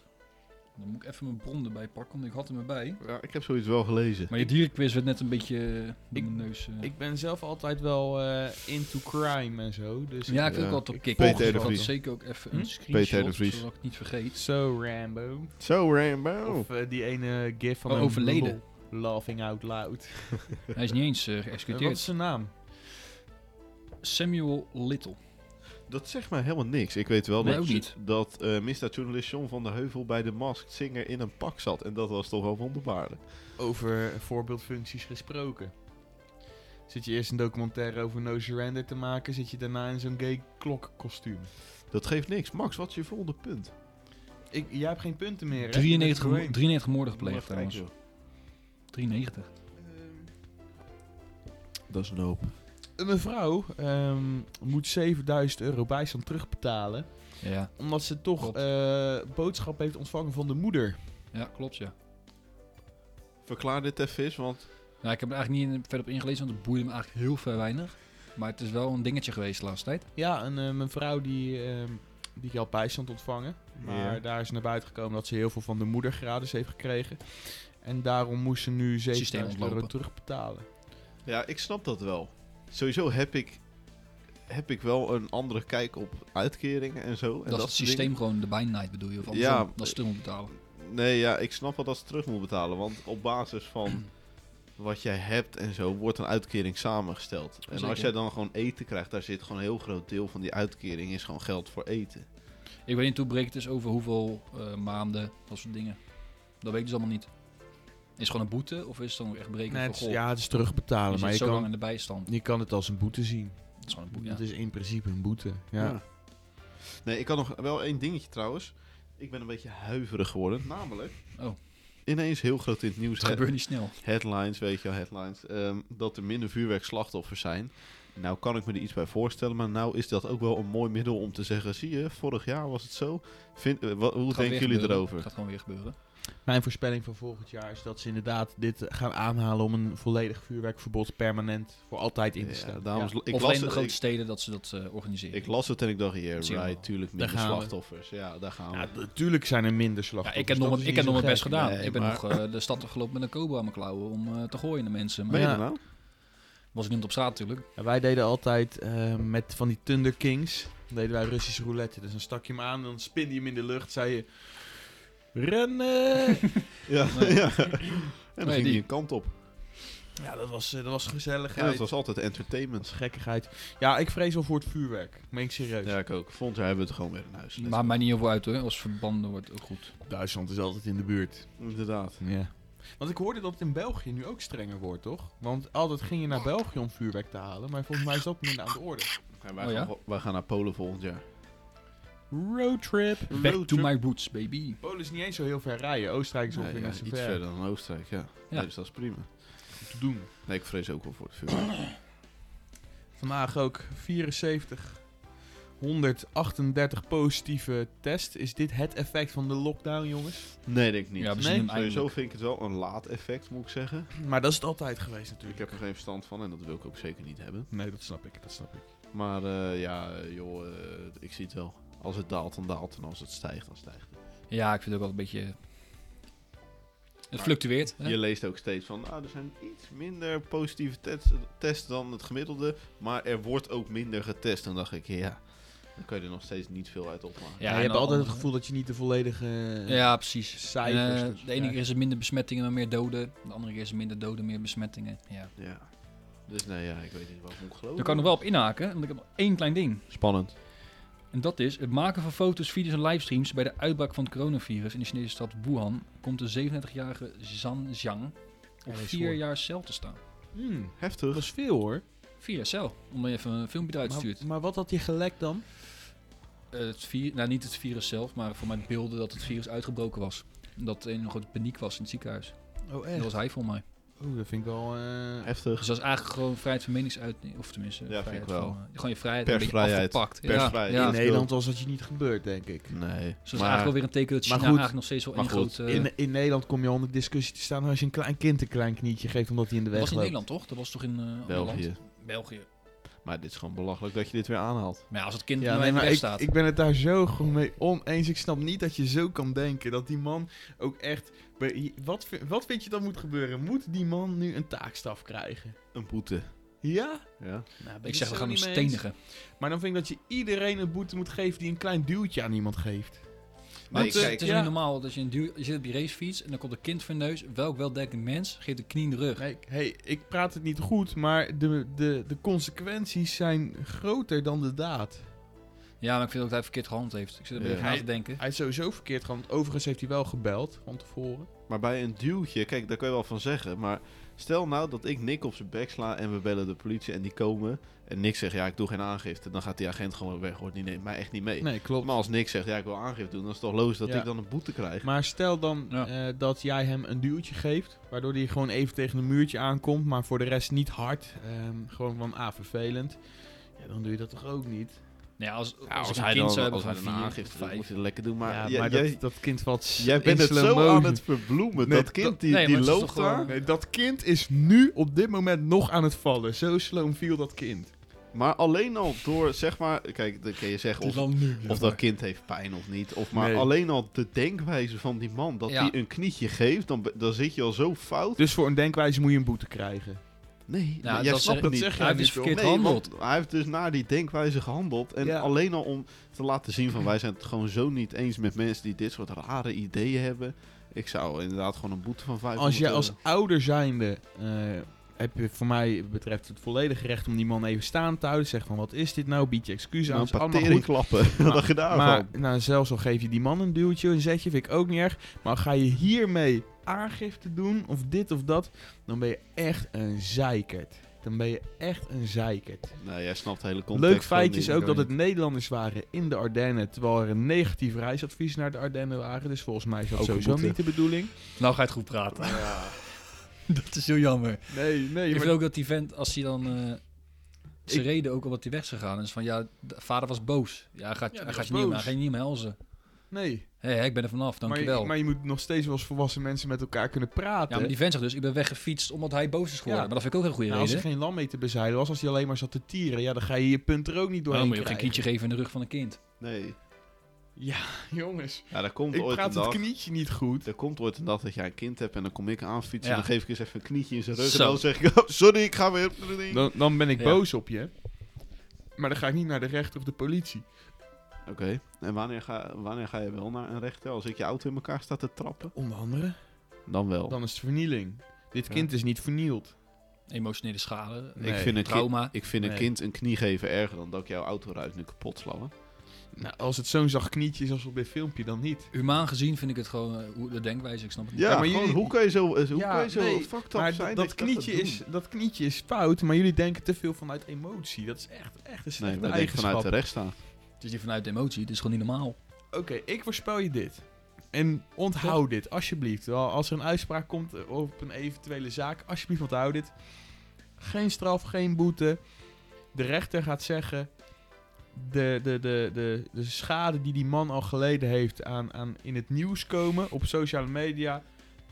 Dan moet ik even mijn bron erbij pakken, want ik had hem erbij. Ja, ik heb zoiets wel gelezen. Maar die dierenquiz werd net een beetje eh, door Ik- mijn neus... eh. Ik ben zelf altijd wel eh, into crime en zo. Dus ja, ik wil Ja. ook altijd op Ik- kick. Ik Peter de had Vries. zeker ook even Hm? een screenshot, de Vries. zodat ik het niet <laughs> vergeet. Zo Rambo. Zo, Rainbow. Of eh, die ene gif van Oh, een overleden. lol laughing out loud. Eh, Hij is niet eens eh, wat geëxecuteerd. is zijn naam? Samuel Little. Dat zegt mij helemaal niks. Ik weet wel Nee, dat, ook niet. dat eh misdaadjournalist John van der Heuvel bij de Masked Singer in een pak zat. En dat was toch wel wonderbaarlijk. Over voorbeeldfuncties gesproken. Zit je eerst een documentaire over No Surrender te maken, zit je daarna in zo'n gay klokkostuum. Dat geeft niks. Max, wat is je volgende punt? Ik, jij hebt geen punten meer, hè? 93, Je bent mo- doorheen. 93 moorden Moet gepleegd even kijken, trouwens. 93. joh. Dat is een hoop. Een mevrouw ehm, moet 7000 euro bijstand terugbetalen, Ja, omdat ze toch Klopt. eh boodschap heeft ontvangen van de moeder. ja klopt ja. Verklaar dit even eens, want Nou, ik heb er eigenlijk niet in- verder op ingelezen, want het boeide me eigenlijk heel veel weinig. Maar het is wel een dingetje geweest de laatste tijd. Ja, een eh, mevrouw die, ehm die had bijstand ontvangen. Maar Ja. daar is naar buiten gekomen dat ze heel veel van de moeder gratis heeft gekregen. En daarom moest ze nu 7000 euro ontlopen. terugbetalen. ja, ik snap dat wel. Sowieso heb ik, heb ik wel een andere kijk op uitkeringen en zo. En dat, is soort het systeem dingen. gewoon de bijnight bedoel je? Of Ja, ja. Dat is te moeten betalen. Nee, ja, ik snap wel dat ze terug moet betalen. Want op basis van <clears throat> wat jij hebt en zo, wordt een uitkering samengesteld. En Zeker. als jij dan gewoon eten krijgt, daar zit gewoon een heel groot deel van die uitkering is gewoon geld voor eten. Ik weet niet hoe breed het is over hoeveel eh, maanden, dat soort dingen. Dat weet ik dus allemaal niet. Is het gewoon een boete of is het dan ook echt breken Nee, van het is- goh, ja, het is je terugbetalen, zit maar je zo lang kan, in de bijstand. je kan het als een boete zien. Dat is gewoon een boete, ja. Het is in principe een boete. Ja. Nee, ik had nog wel één dingetje trouwens. Ik ben een beetje huiverig geworden. Namelijk, Oh. ineens heel groot in het nieuws. Het gebeurt niet snel. headlines, weet je wel, headlines. ehm, dat er minder vuurwerkslachtoffers zijn. Nou kan ik me er iets bij voorstellen, maar nou is dat ook wel een mooi middel om te zeggen... zie je, vorig jaar was het zo. Vind, eh, wa- hoe Het gaat weer denken jullie gebeuren. erover? Het gaat gewoon weer gebeuren. Mijn voorspelling van volgend jaar is dat ze inderdaad dit gaan aanhalen om een volledig vuurwerkverbod permanent voor altijd in te Ja, stellen. dames, Ja. ik, of las alleen de het, grote ik, steden dat ze dat eh, organiseren. ik las het en ik dacht, yeah, Zie je right, wel. tuurlijk Daar minder gaan we. slachtoffers. Ja, daar gaan we. Ja, natuurlijk zijn er minder ja, slachtoffers. ik heb nog, dat mijn- is ik niet heb nog mijn zo best gek. gedaan. Nee, ik ben maar- nog eh, de stad gelopen met een cobra aan mijn klauwen om eh, te gooien naar mensen. Maar Meen je Ja. dat nou? was er niemand op straat natuurlijk. Ja, wij deden altijd eh, met van die Thunder Kings, deden wij Russisch roulette. Dus dan stak je hem aan, dan spinde je hem in de lucht, zei je... Rennen! Ja, <laughs> Nee. ja. En dan ging Nee, die die. een kant op. ja, dat was, eh, dat was Ja, gezelligheid. dat was altijd entertainment. gekkigheid. Ja, ik vrees wel voor het vuurwerk. Meen ik serieus. Ja, ik ook. Volgend jaar hebben we het gewoon weer in huis. Let's Maar go. mij niet heel veel uit hoor. Als verbanden wordt ook goed. Duitsland is altijd in de buurt. Inderdaad. Ja. Want ik hoorde dat het in België nu ook strenger wordt, toch? Want altijd ging je naar België om vuurwerk te halen, maar volgens mij is dat minder aan de orde. En wij, Oh, ja? gaan, wij gaan naar Polen volgend jaar. Roadtrip. Back to my roots, baby. Polen is niet eens zo heel ver rijden. Oostenrijk is Ja, ongeveer ja, net iets zo ver. verder dan Oostenrijk, ja. Ja. Dus dat is prima. te doen. Nee, ik vrees ook wel voor het vuur. Vandaag ook 74. 138 positieve test. Is dit het effect van de lockdown, jongens? Nee, denk ik niet. Ja, we Nee, zien hem Sowieso eindelijk. vind ik het wel een laat effect, moet ik zeggen. Maar dat is het altijd geweest Ik natuurlijk. heb er geen verstand van en dat wil ik ook zeker niet hebben. Nee, dat snap ik. Dat snap ik. Maar eh, ja, eh, joh, eh, ik zie het wel. Als het daalt, dan daalt. En als het stijgt, dan stijgt het. Ja, ik vind het ook wel een beetje... Het fluctueert. Hè? Je leest ook steeds van, ah, er zijn iets minder positieve test- tests dan het gemiddelde. Maar er wordt ook minder getest. En dan dacht ik, ja, dan kan je er nog steeds niet veel uit opmaken. Ja, en je hebt dan altijd het andere- gevoel dat je niet de volledige... eh, Ja, precies. cijfers. Eh, dus de ene ja. keer is er minder besmettingen, maar meer doden. De andere keer is er minder doden, meer besmettingen. Ja. Ja. Dus nee, ja, ik weet niet wat ik moet geloven. Daar kan ik nog wel op inhaken, want ik heb nog één klein ding. Spannend. En dat is het maken van foto's, video's en livestreams bij de uitbraak van het coronavirus in de Chinese stad Wuhan. Komt de 37-jarige Zhan Zhang Ja, op dat is vier hoor. jaar cel te staan. Hmm, dat Dus- Heftig. is veel hoor. Vier jaar cel, omdat je even een filmpje eruit stuurt. Maar, maar wat had hij gelekt dan? Eh, het vi- nou, niet het virus zelf, maar voor mij beelden dat het virus uitgebroken was. Dat er een grote paniek was in het ziekenhuis. Oh Dat was hij voor mij. Oeh, dat vind ik wel... eh, Heftig. Dus dat is eigenlijk gewoon vrijheid van meningsuiting. Of tenminste, Ja, vind vrijheid ik wel. Van, eh, gewoon je vrijheid Persvrijheid. een beetje afgepakt. Ja, Persvrijheid. Ja, in Nee, Nederland was dat je niet gebeurd, denk ik. Nee. Dus dat is eigenlijk wel weer een teken dat China maar goed, eigenlijk nog steeds wel eh, maar een goed, grote... In, in Nederland kom je onder discussie te staan als je een klein kind een klein knietje geeft omdat hij in de dat weg was in loopt. Nederland, toch? Dat was toch in eh, ander land? België. België. Maar dit is gewoon belachelijk dat je dit weer aanhaalt. Maar ja, als het kind Ja, nu nee, in de maar weg ik, staat. ik ben het daar zo gewoon mee oneens. Ik snap niet dat je zo kan denken. Dat die man ook echt... be- Wat, vi- wat vind je dat moet gebeuren? Moet die man nu een taakstraf krijgen? Een boete. Ja? Ja. Nou, ben ik het zeg, we zo gaan hem niet mee eens. stenigen. Maar dan vind ik dat je iedereen een boete moet geven die een klein duwtje aan iemand geeft. Maar Nee, het, is- kijk, het is ja. niet normaal dat je, een duur, je zit op je racefiets en dan komt een kind voor je neus. Welk weldenkend mens geeft een knie in de rug? Nee, hey, ik praat het niet goed, maar de, de, de consequenties zijn groter dan de daad. Ja, maar ik vind ook dat hij verkeerd gehandeld heeft. Ik zit er een Ja. beetje na Hij- te denken. Hij is sowieso verkeerd gehandeld. Overigens heeft hij wel gebeld van tevoren. Maar bij een duwtje, kijk, daar kun je wel van zeggen. Maar stel nou dat ik Nick op zijn bek sla en we bellen de politie en die komen. En Nick zegt, ja, ik doe geen aangifte. Dan gaat die agent gewoon weg, hoort niet, neemt mij echt niet mee. Nee, klopt. Maar als Nick zegt, ja, ik wil aangifte doen, dan is het toch logisch dat Ja. ik dan een boete krijg. Maar stel dan Ja. eh, dat jij hem een duwtje geeft, waardoor hij gewoon even tegen een muurtje aankomt, maar voor de rest niet hard. ehm, gewoon van, ah, vervelend. Ja, dan doe je dat toch ook niet? Nou ja, als, als, Ja, als, ik een hij kind dan, zou als hebben hij dan van vier, een aangifte doet, vijf. moet je het lekker doen. Maar, ja, jij- maar jij, dat, dat kind wat s- jij in bent het slow zo motion. aan het verbloemen. Nee, dat kind, die, nee, maar die het is loopt toch gewoon- daar. Nee, dat kind is nu op dit moment nog aan het vallen. Zo sloom viel dat kind. Maar alleen al door, zeg maar... Kijk, dan kun je zeggen of, Dan nu. of dat kind heeft pijn of niet. Of maar Nee. alleen al de denkwijze van die man. Dat Ja. hij een knietje geeft, dan, be- dan zit je al zo fout. Dus voor een denkwijze moet je een boete krijgen. Nee, Ja, jij dat snapt zeg- het dat niet. zeg Hij jij heeft niet, dus joh. verkeerd Nee, gehandeld. want hij heeft dus naar die denkwijze gehandeld. En Ja. alleen al om te laten zien van wij zijn het gewoon zo niet eens met mensen die dit soort rare ideeën hebben. Ik zou inderdaad gewoon een boete van eh, 500 Als jij als euro- ouder zijnde eh, heb je voor mij betreft het volledige recht om die man even staan te houden. Zeg van wat is dit nou? Bied je excuus aan. Nou, Het is een allemaal goed. patering klappen. <laughs> Wat had je Maar daarvan? nou, zelfs al geef je die man een duwtje, een zetje, vind ik ook niet erg. Maar ga je hiermee aangifte doen, of dit of dat, dan ben je echt een zeikert. Dan ben je echt een zeikert. Nee, jij snapt de hele context. Leuk feitje is gewoon ook niet. dat het Nederlanders waren in de Ardennen, terwijl er een negatief reisadvies naar de Ardennen waren. Dus volgens mij is dat Ook een sowieso boete. niet de bedoeling. Nou ga je het goed praten. <laughs> dat is heel jammer. Nee, nee. Ik maar- vind ook dat die vent, als hij dan... eh zijn Ik- reden ook al wat hij weg is gegaan is van, ja, de vader was boos. Ja, hij gaat, Ja, die hij gaat was je niet, boos. hij gaat je niet meer helzen. nee. Hé, hé, ik ben er vanaf, Maar je, dankjewel. maar je moet nog steeds wel als volwassen mensen met elkaar kunnen praten. ja, maar die vent zegt dus, ik ben weggefietst omdat hij boos is geworden. Ja. Maar dat vind ik ook een goede Nou, als er reden. geen lam mee te bezeilen was, als hij alleen maar zat te tieren, ja, dan ga je je punt er ook niet Dan doorheen moet Oh, je ook geen krijgen. kindje geven in de rug van een kind. Nee, <laughs> Jongens. ja, daar komt Ik ooit een praat het dag... knietje niet goed. Er komt ooit een dag dat jij een kind hebt en dan kom ik aanfietsen Ja. en dan geef ik eens even een knietje in zijn rug Zo. en dan zeg ik, oh, sorry, ik ga weer... Oké, Dan, dan ben ik Ja. boos op je. Maar dan ga ik niet naar de rechter of de politie. en wanneer ga, wanneer ga je wel naar een rechter als ik je auto in elkaar sta te trappen? Onder andere? Dan wel. Dan is het vernieling. Dit Ja. kind is niet vernield. Emotionele schade, Nee. ik vind een, kind, trauma. ik vind een Nee. kind een knie geven erger dan dat ik jouw autoruit nu kapot sla. hoor. Nou, als het zo'n zacht knietje is als op dit filmpje, dan niet. Humaan gezien vind ik het gewoon, eh, hoe de denkwijze, ik snap het niet. Ja, maar maar jullie- hoe kan je zo, eh, hoe Ja, kan je zo nee, fucked up Maar zijn? dat, dat, je knietje gaat is, doen? dat knietje is fout, maar jullie denken te veel vanuit emotie. Dat is echt, echt een Nee, slechte dat denk ik eigenschap. vanuit de rechtsstaat. Het is niet vanuit emotie, het is gewoon niet normaal. Oké, ik voorspel je dit. En onthoud dit, alsjeblieft. Wel, Als er een uitspraak komt op een eventuele zaak, alsjeblieft onthoud dit. Geen straf, geen boete. De rechter gaat zeggen... De, de, de, de, de schade die die man al geleden heeft aan, aan in het nieuws komen, op sociale media,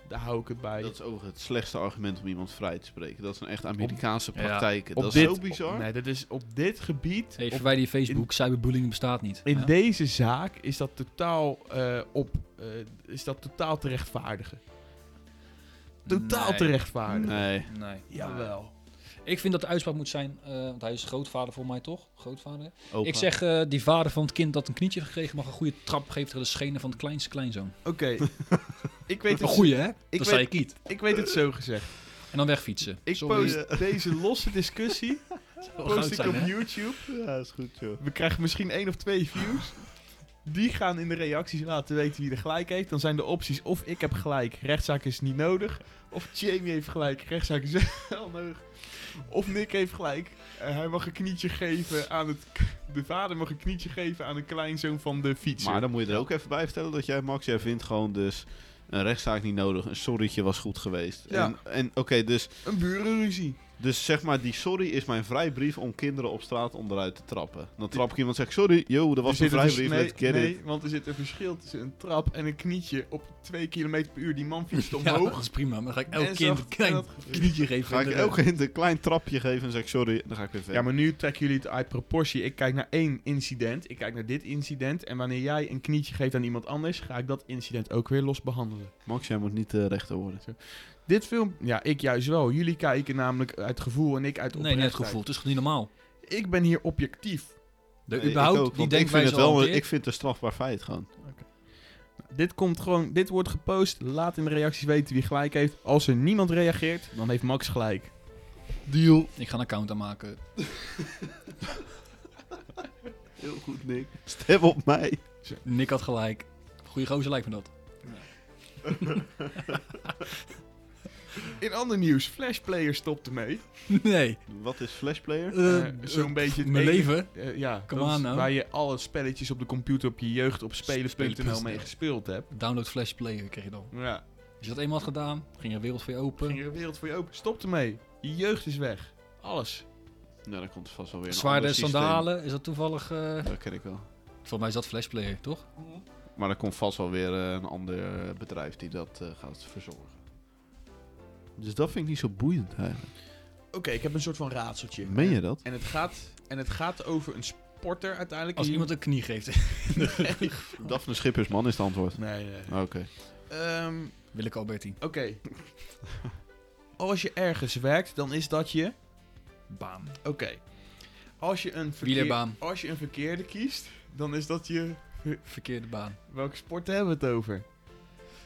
daar hou ik het bij. Dat is overigens het slechtste argument om iemand vrij te spreken. Dat zijn echt Amerikaanse praktijken. op dat is dit, zo bizar. op- nee, dat is op dit gebied, Hey, op- verwijder je Facebook, cyberbullying bestaat niet. in Ja. deze zaak, is dat totaal, eh, op, eh, is dat totaal te rechtvaardigen. Totaal Nee. te rechtvaardigen. Nee. Nee. Jawel. Ik vind dat de uitspraak moet zijn, eh, want hij is grootvader voor mij toch? Grootvader. opa. Ik zeg, eh, die vader van het kind dat een knietje heeft gekregen mag een goede trap geven tegen de schenen van het kleinste kleinzoon. Oké. <laughs> ik, weet Een het, goeie, hè? weet- dat zei je kiet. ik weet het zo gezegd. En dan wegfietsen. Ik Sorry. post deze losse discussie <laughs> Zou wel goud post ik zijn, op hè? YouTube. Ja, is goed, joh. We krijgen misschien één of twee views. Die gaan in de reacties laten weten wie er gelijk heeft. Dan zijn de opties of ik heb gelijk, rechtszaak is niet nodig. Of Jamie heeft gelijk, rechtszaak is <laughs> wel nodig. Of Nick heeft gelijk, eh, hij mag een knietje geven aan het... De vader mag een knietje geven aan de kleinzoon van de fietser. Maar dan moet je er ook even bij vertellen dat jij, Max, jij vindt gewoon dus een rechtszaak niet nodig. Een sorrytje was goed geweest. Ja. En, en oké, dus, Een burenruzie. dus zeg maar, die sorry is mijn vrijbrief om kinderen op straat onderuit te trappen. Dan trap ik iemand en zeg, sorry, yo, dat was Er een zit een vers- vrijbrief, dus- nee, let's get nee, it. want er zit een verschil tussen een trap en een knietje op 2 km per uur. Die man <laughs> fietst Ja, <laughs> dat omhoog. is prima. Maar dan ga ik elk En kind zacht, een klein en dat- knietje geven. Ga in ik de elk rug. kind een klein trapje geven en zeg ik, sorry, en dan ga ik weer verder. Ja, maar nu trekken jullie het uit proportie. Ik kijk naar één incident. Ik kijk naar dit incident. En wanneer jij een knietje geeft aan iemand anders, ga ik dat incident ook weer los behandelen. Max, jij moet niet de rechter worden. Dit film, ja, ik juist wel. Jullie kijken namelijk uit gevoel en ik uit Nee, net oprechtheid. gevoel. Het is gewoon niet normaal. Ik ben hier objectief. De, Nee, ik überhaupt, ook, die want ik denkwijze vind het wel, al een- ik vind het een strafbaar feit gewoon. Dit komt gewoon, dit wordt gepost. Laat in de reacties weten wie gelijk heeft. Als er niemand reageert, dan heeft Max gelijk. Deal. Ik ga een account aanmaken. Heel goed, Nick. Stem op mij. Nick had gelijk. Goeie gozer lijkt me dat. In ander nieuws, Flashplayer stopte mee. <laughs> Nee. Wat is Flashplayer? Eh, Eh, Zo'n eh, beetje het Mijn enige- leven. Eh, ja, Come dat on is nou. waar je alle spelletjes op de computer op je jeugd op spelen.nl mee Spelen.nl. gespeeld hebt. Download Flash Player kreeg je dan. Ja, Als je dat eenmaal had gedaan, ging er een wereld voor je open. ging er een wereld voor je open. Stopte mee. Je jeugd is weg. Alles. Nou, dan komt vast wel weer een Zwaarden, ander systeem. sandalen, is dat toevallig... eh Dat ken ik wel. Volgens mij is dat Flash Player, toch? Maar er komt vast wel weer eh, een ander eh, bedrijf die dat eh, gaat verzorgen. Dus dat vind ik niet zo boeiend eigenlijk. Oké, ik heb een soort van raadseltje. Meen je dat? En het gaat, en het gaat over een sporter uiteindelijk. Als die- iemand een knie geeft, <laughs> Daphne Schippersman is het <laughs> antwoord. Nee, nee. Ah. nee. Oké. Ehm, wil ik Alberti. Oké. Als je ergens werkt, dan is dat je... Baan. Oké. Als, je een verkeer- Wielerbaan. als je een verkeerde kiest, dan is dat je... Verkeerde baan. Welke sporten hebben we het over?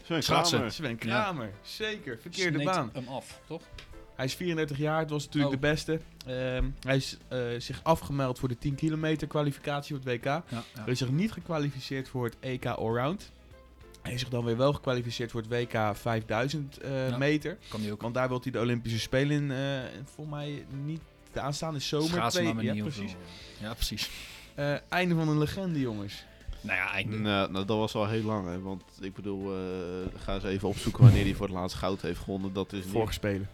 Sven Schaatsen. Kramer. Sven Kramer, zeker. Verkeerde Sneed baan. hem af, toch? Hij is 34 jaar, het was natuurlijk Oh. de beste. Ehm, hij is eh, zich afgemeld voor de 10 kilometer kwalificatie op het WK. Ja, ja. Hij is zich niet gekwalificeerd voor het EK Allround. Hij is zich dan weer wel gekwalificeerd voor het WK 5000 eh, Ja. meter. Kan die ook. Want daar wil hij de Olympische Spelen in, eh, volgens mij niet de aanstaande zomer. Schaatsen twee- maar manier ja, of zo. precies. Ja, precies. <laughs> Eh, einde van een legende, jongens. Nou ja, einde. Nou, nou, dat was al heel lang, hè. Want ik bedoel, eh, ga eens even opzoeken wanneer hij voor het laatst goud heeft gewonnen. Dat is Dus niet- Vorige Spelen.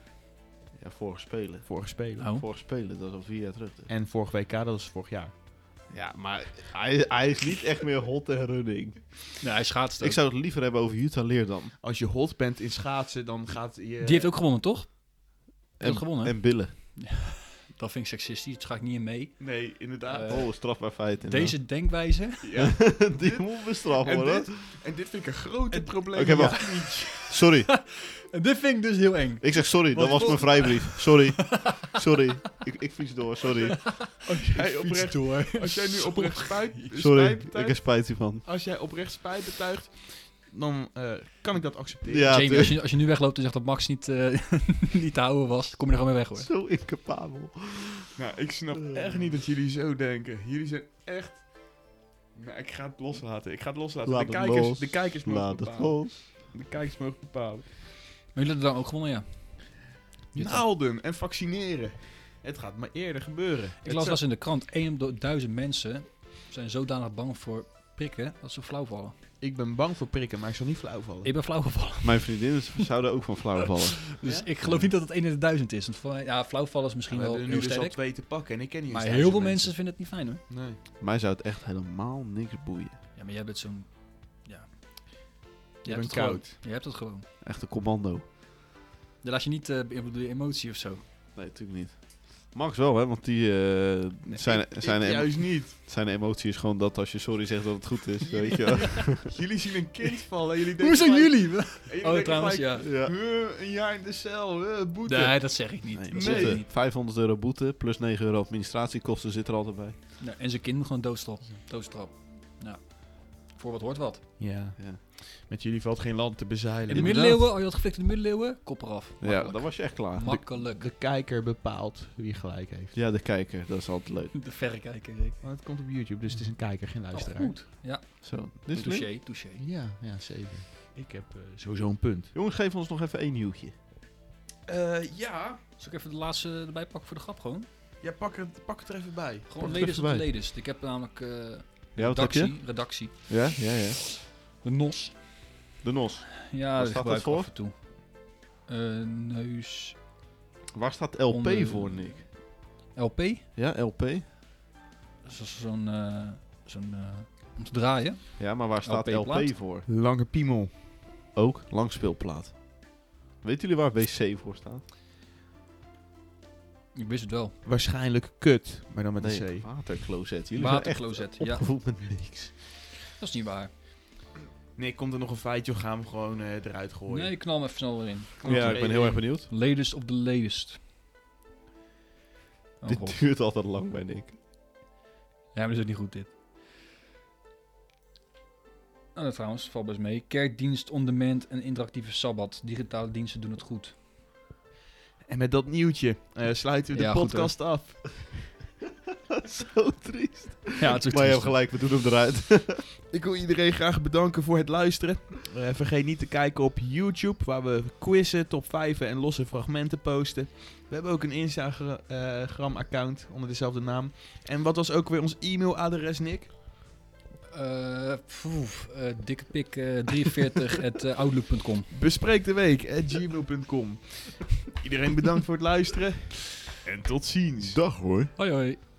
Ja, vorige spelen. Vorige Spelen. Oh. Vorige spelen, dat is al vier jaar terug. dus. En vorig WK, dat was vorig jaar. Ja, maar hij, hij is niet echt meer hot en running. Nee, hij schaatst ook. Ik zou het liever hebben over Jutta Leerdam. Als je hot bent in schaatsen, dan gaat je... Die heeft ook gewonnen, toch? En, heeft gewonnen, hè? en Billen. Dat vind ik seksistisch, daar ga ik niet in mee. Nee, inderdaad. Eh, oh, strafbaar feit. inderdaad. <laughs> Deze denkwijze... Ja. <laughs> Die moet bestraft En, worden. dit, en dit vind ik een groot probleem. Oké, wacht. Sorry. En dit vind ik dus heel eng. Ik zeg sorry, dat Want was mijn vrijbrief. <laughs> Sorry. Sorry. Ik, ik fiets door, sorry. Als jij Fiets oprecht, door. als jij nu oprecht spijt, Sorry, spijt ik betuigt, heb spijt hiervan. als jij oprecht spijt betuigt, dan eh, kan ik dat accepteren. Ja, Jamie, tuurlijk. als je, als je nu wegloopt en zegt dat Max niet, eh, <laughs> niet te houden was, kom je er gewoon mee weg hoor. Zo incapabel. Nou, ik snap Eh. echt niet dat jullie zo denken. Jullie zijn echt... Nou, ik ga het loslaten. Ik ga het loslaten. Laat de, het kijkers, los. de kijkers mogen Laat het bepalen. los. De kijkers mogen bepalen. Maar jullie hebben dan ook gewonnen, ja. Jutta. Naalden en vaccineren. Het gaat maar eerder gebeuren. Ik Het las zou- wel eens in de krant, 1 op de 1000 mensen zijn zodanig bang voor prikken dat ze flauw vallen. ik ben bang voor prikken, maar ik zal niet flauw vallen. Ik ben flauw gevallen. Mijn vriendinnen zouden ook van flauw vallen. Dus Ja? ik geloof niet dat het 1 in de 1000 is. Want voor mij- ja, flauw vallen is misschien we wel hebben er nu heel dus al sterk. twee te pakken en ik ken niet Maar eens heel veel duizend mensen vinden het niet fijn hoor. Nee. Mij zou het echt helemaal niks boeien. Ja, maar jij bent zo'n... Ja. Je bent het gewoon. koud. Je hebt het gewoon. Echt een commando. Dan laat je niet eh beïnvloeden door je emotie of zo. Oh, Nee, natuurlijk niet. Max wel, hè, want die, eh, zijn, Ik- ik zijn, emo- juist niet. zijn emotie is gewoon dat als je sorry zegt dat het goed is. Weet <laughs> je wel. Jullie zien een kind vallen en jullie denken Hoe zijn gelijk- jullie? en jullie Oh, denken trouwens, gelijk, ja. Ja. "Huh, een jaar in de cel, eh, boete. Nee, dat zeg ik niet. Nee, Dat is zeg boete. ik het. niet. 500 euro boete plus 9 euro administratiekosten zit er altijd bij. Nou, en zijn kind moet gewoon doodstrap. Doodstrap. Nou, voor wat hoort wat. Ja, Ja, met jullie valt geen land te In bezeilen. de middeleeuwen, als je had geflikt in de middeleeuwen, kop eraf. ja ah, Makkelijk. dan was je echt klaar. Makkelijk. <laughs> De kijker bepaalt wie gelijk heeft. Ja, de kijker, dat is altijd leuk. De verrekijker zeker. Maar het komt op YouTube, dus het is een kijker, geen luisteraar. Oh, goed. Ja, Zo, dit is leuk. touché, touché. Ja, ja, zeker. Ik heb eh, sowieso een punt. Jongens, geef ons nog even één nieuwtje. Eh, ja. Zal ik even de laatste erbij pakken voor de grap gewoon? Ja, pak het, pak het er even bij. Gewoon het leden even op de bij. leden. Ik heb namelijk eh, Ja, wat heb redactie, je? redactie. Ja, ja, ja. De NOS. De NOS. Ja, Waar die staat gebruik dat ik voor? af en toe. Eh, neus. Waar staat LP Onder- voor, Nick? LP. Ja, LP. Dat is zo'n... eh, zo'n eh, om te draaien. Ja, maar waar staat LP, LP-plaat? voor? Lange piemel. Ook langspeelplaat. Weet jullie waar WC voor staat? Ik wist het wel. Waarschijnlijk kut, maar dan met nee, een C. watercloset. Jullie zijn Watercloset. echt Ja, opgevoed met niks. dat is niet waar. Nee, komt er nog een feitje of gaan we gewoon eh, eruit gooien? Nee, ik knal hem even snel erin. Ja, ik ben Oh, heel erg benieuwd. Latest of the latest. Oh, god. Dit duurt altijd lang bij Nick. <laughs> Ja, maar is het niet goed dit. Nou, dat trouwens, valt best mee. Kerkdienst on demand en interactieve sabbat. Digitale diensten doen het goed. En met dat nieuwtje eh, sluiten we de Ja, goed, podcast af. Zo triest. <laughs> Ja, het is ook Maar je hebt triest. gelijk, we doen hem eruit. Ik wil iedereen graag bedanken voor het luisteren. Eh, vergeet niet te kijken op YouTube, waar we quizzen, top 5 en losse fragmenten posten. We hebben ook een Instagram-account onder dezelfde naam. En wat was ook weer ons e-mailadres, Nick? Eh, pfoef, eh, dikkepik eh, 43 at eh, outlook.com. Bespreek de week at gmail.com. Iedereen bedankt voor het luisteren. En tot ziens. Dag hoor. Hoi hoi.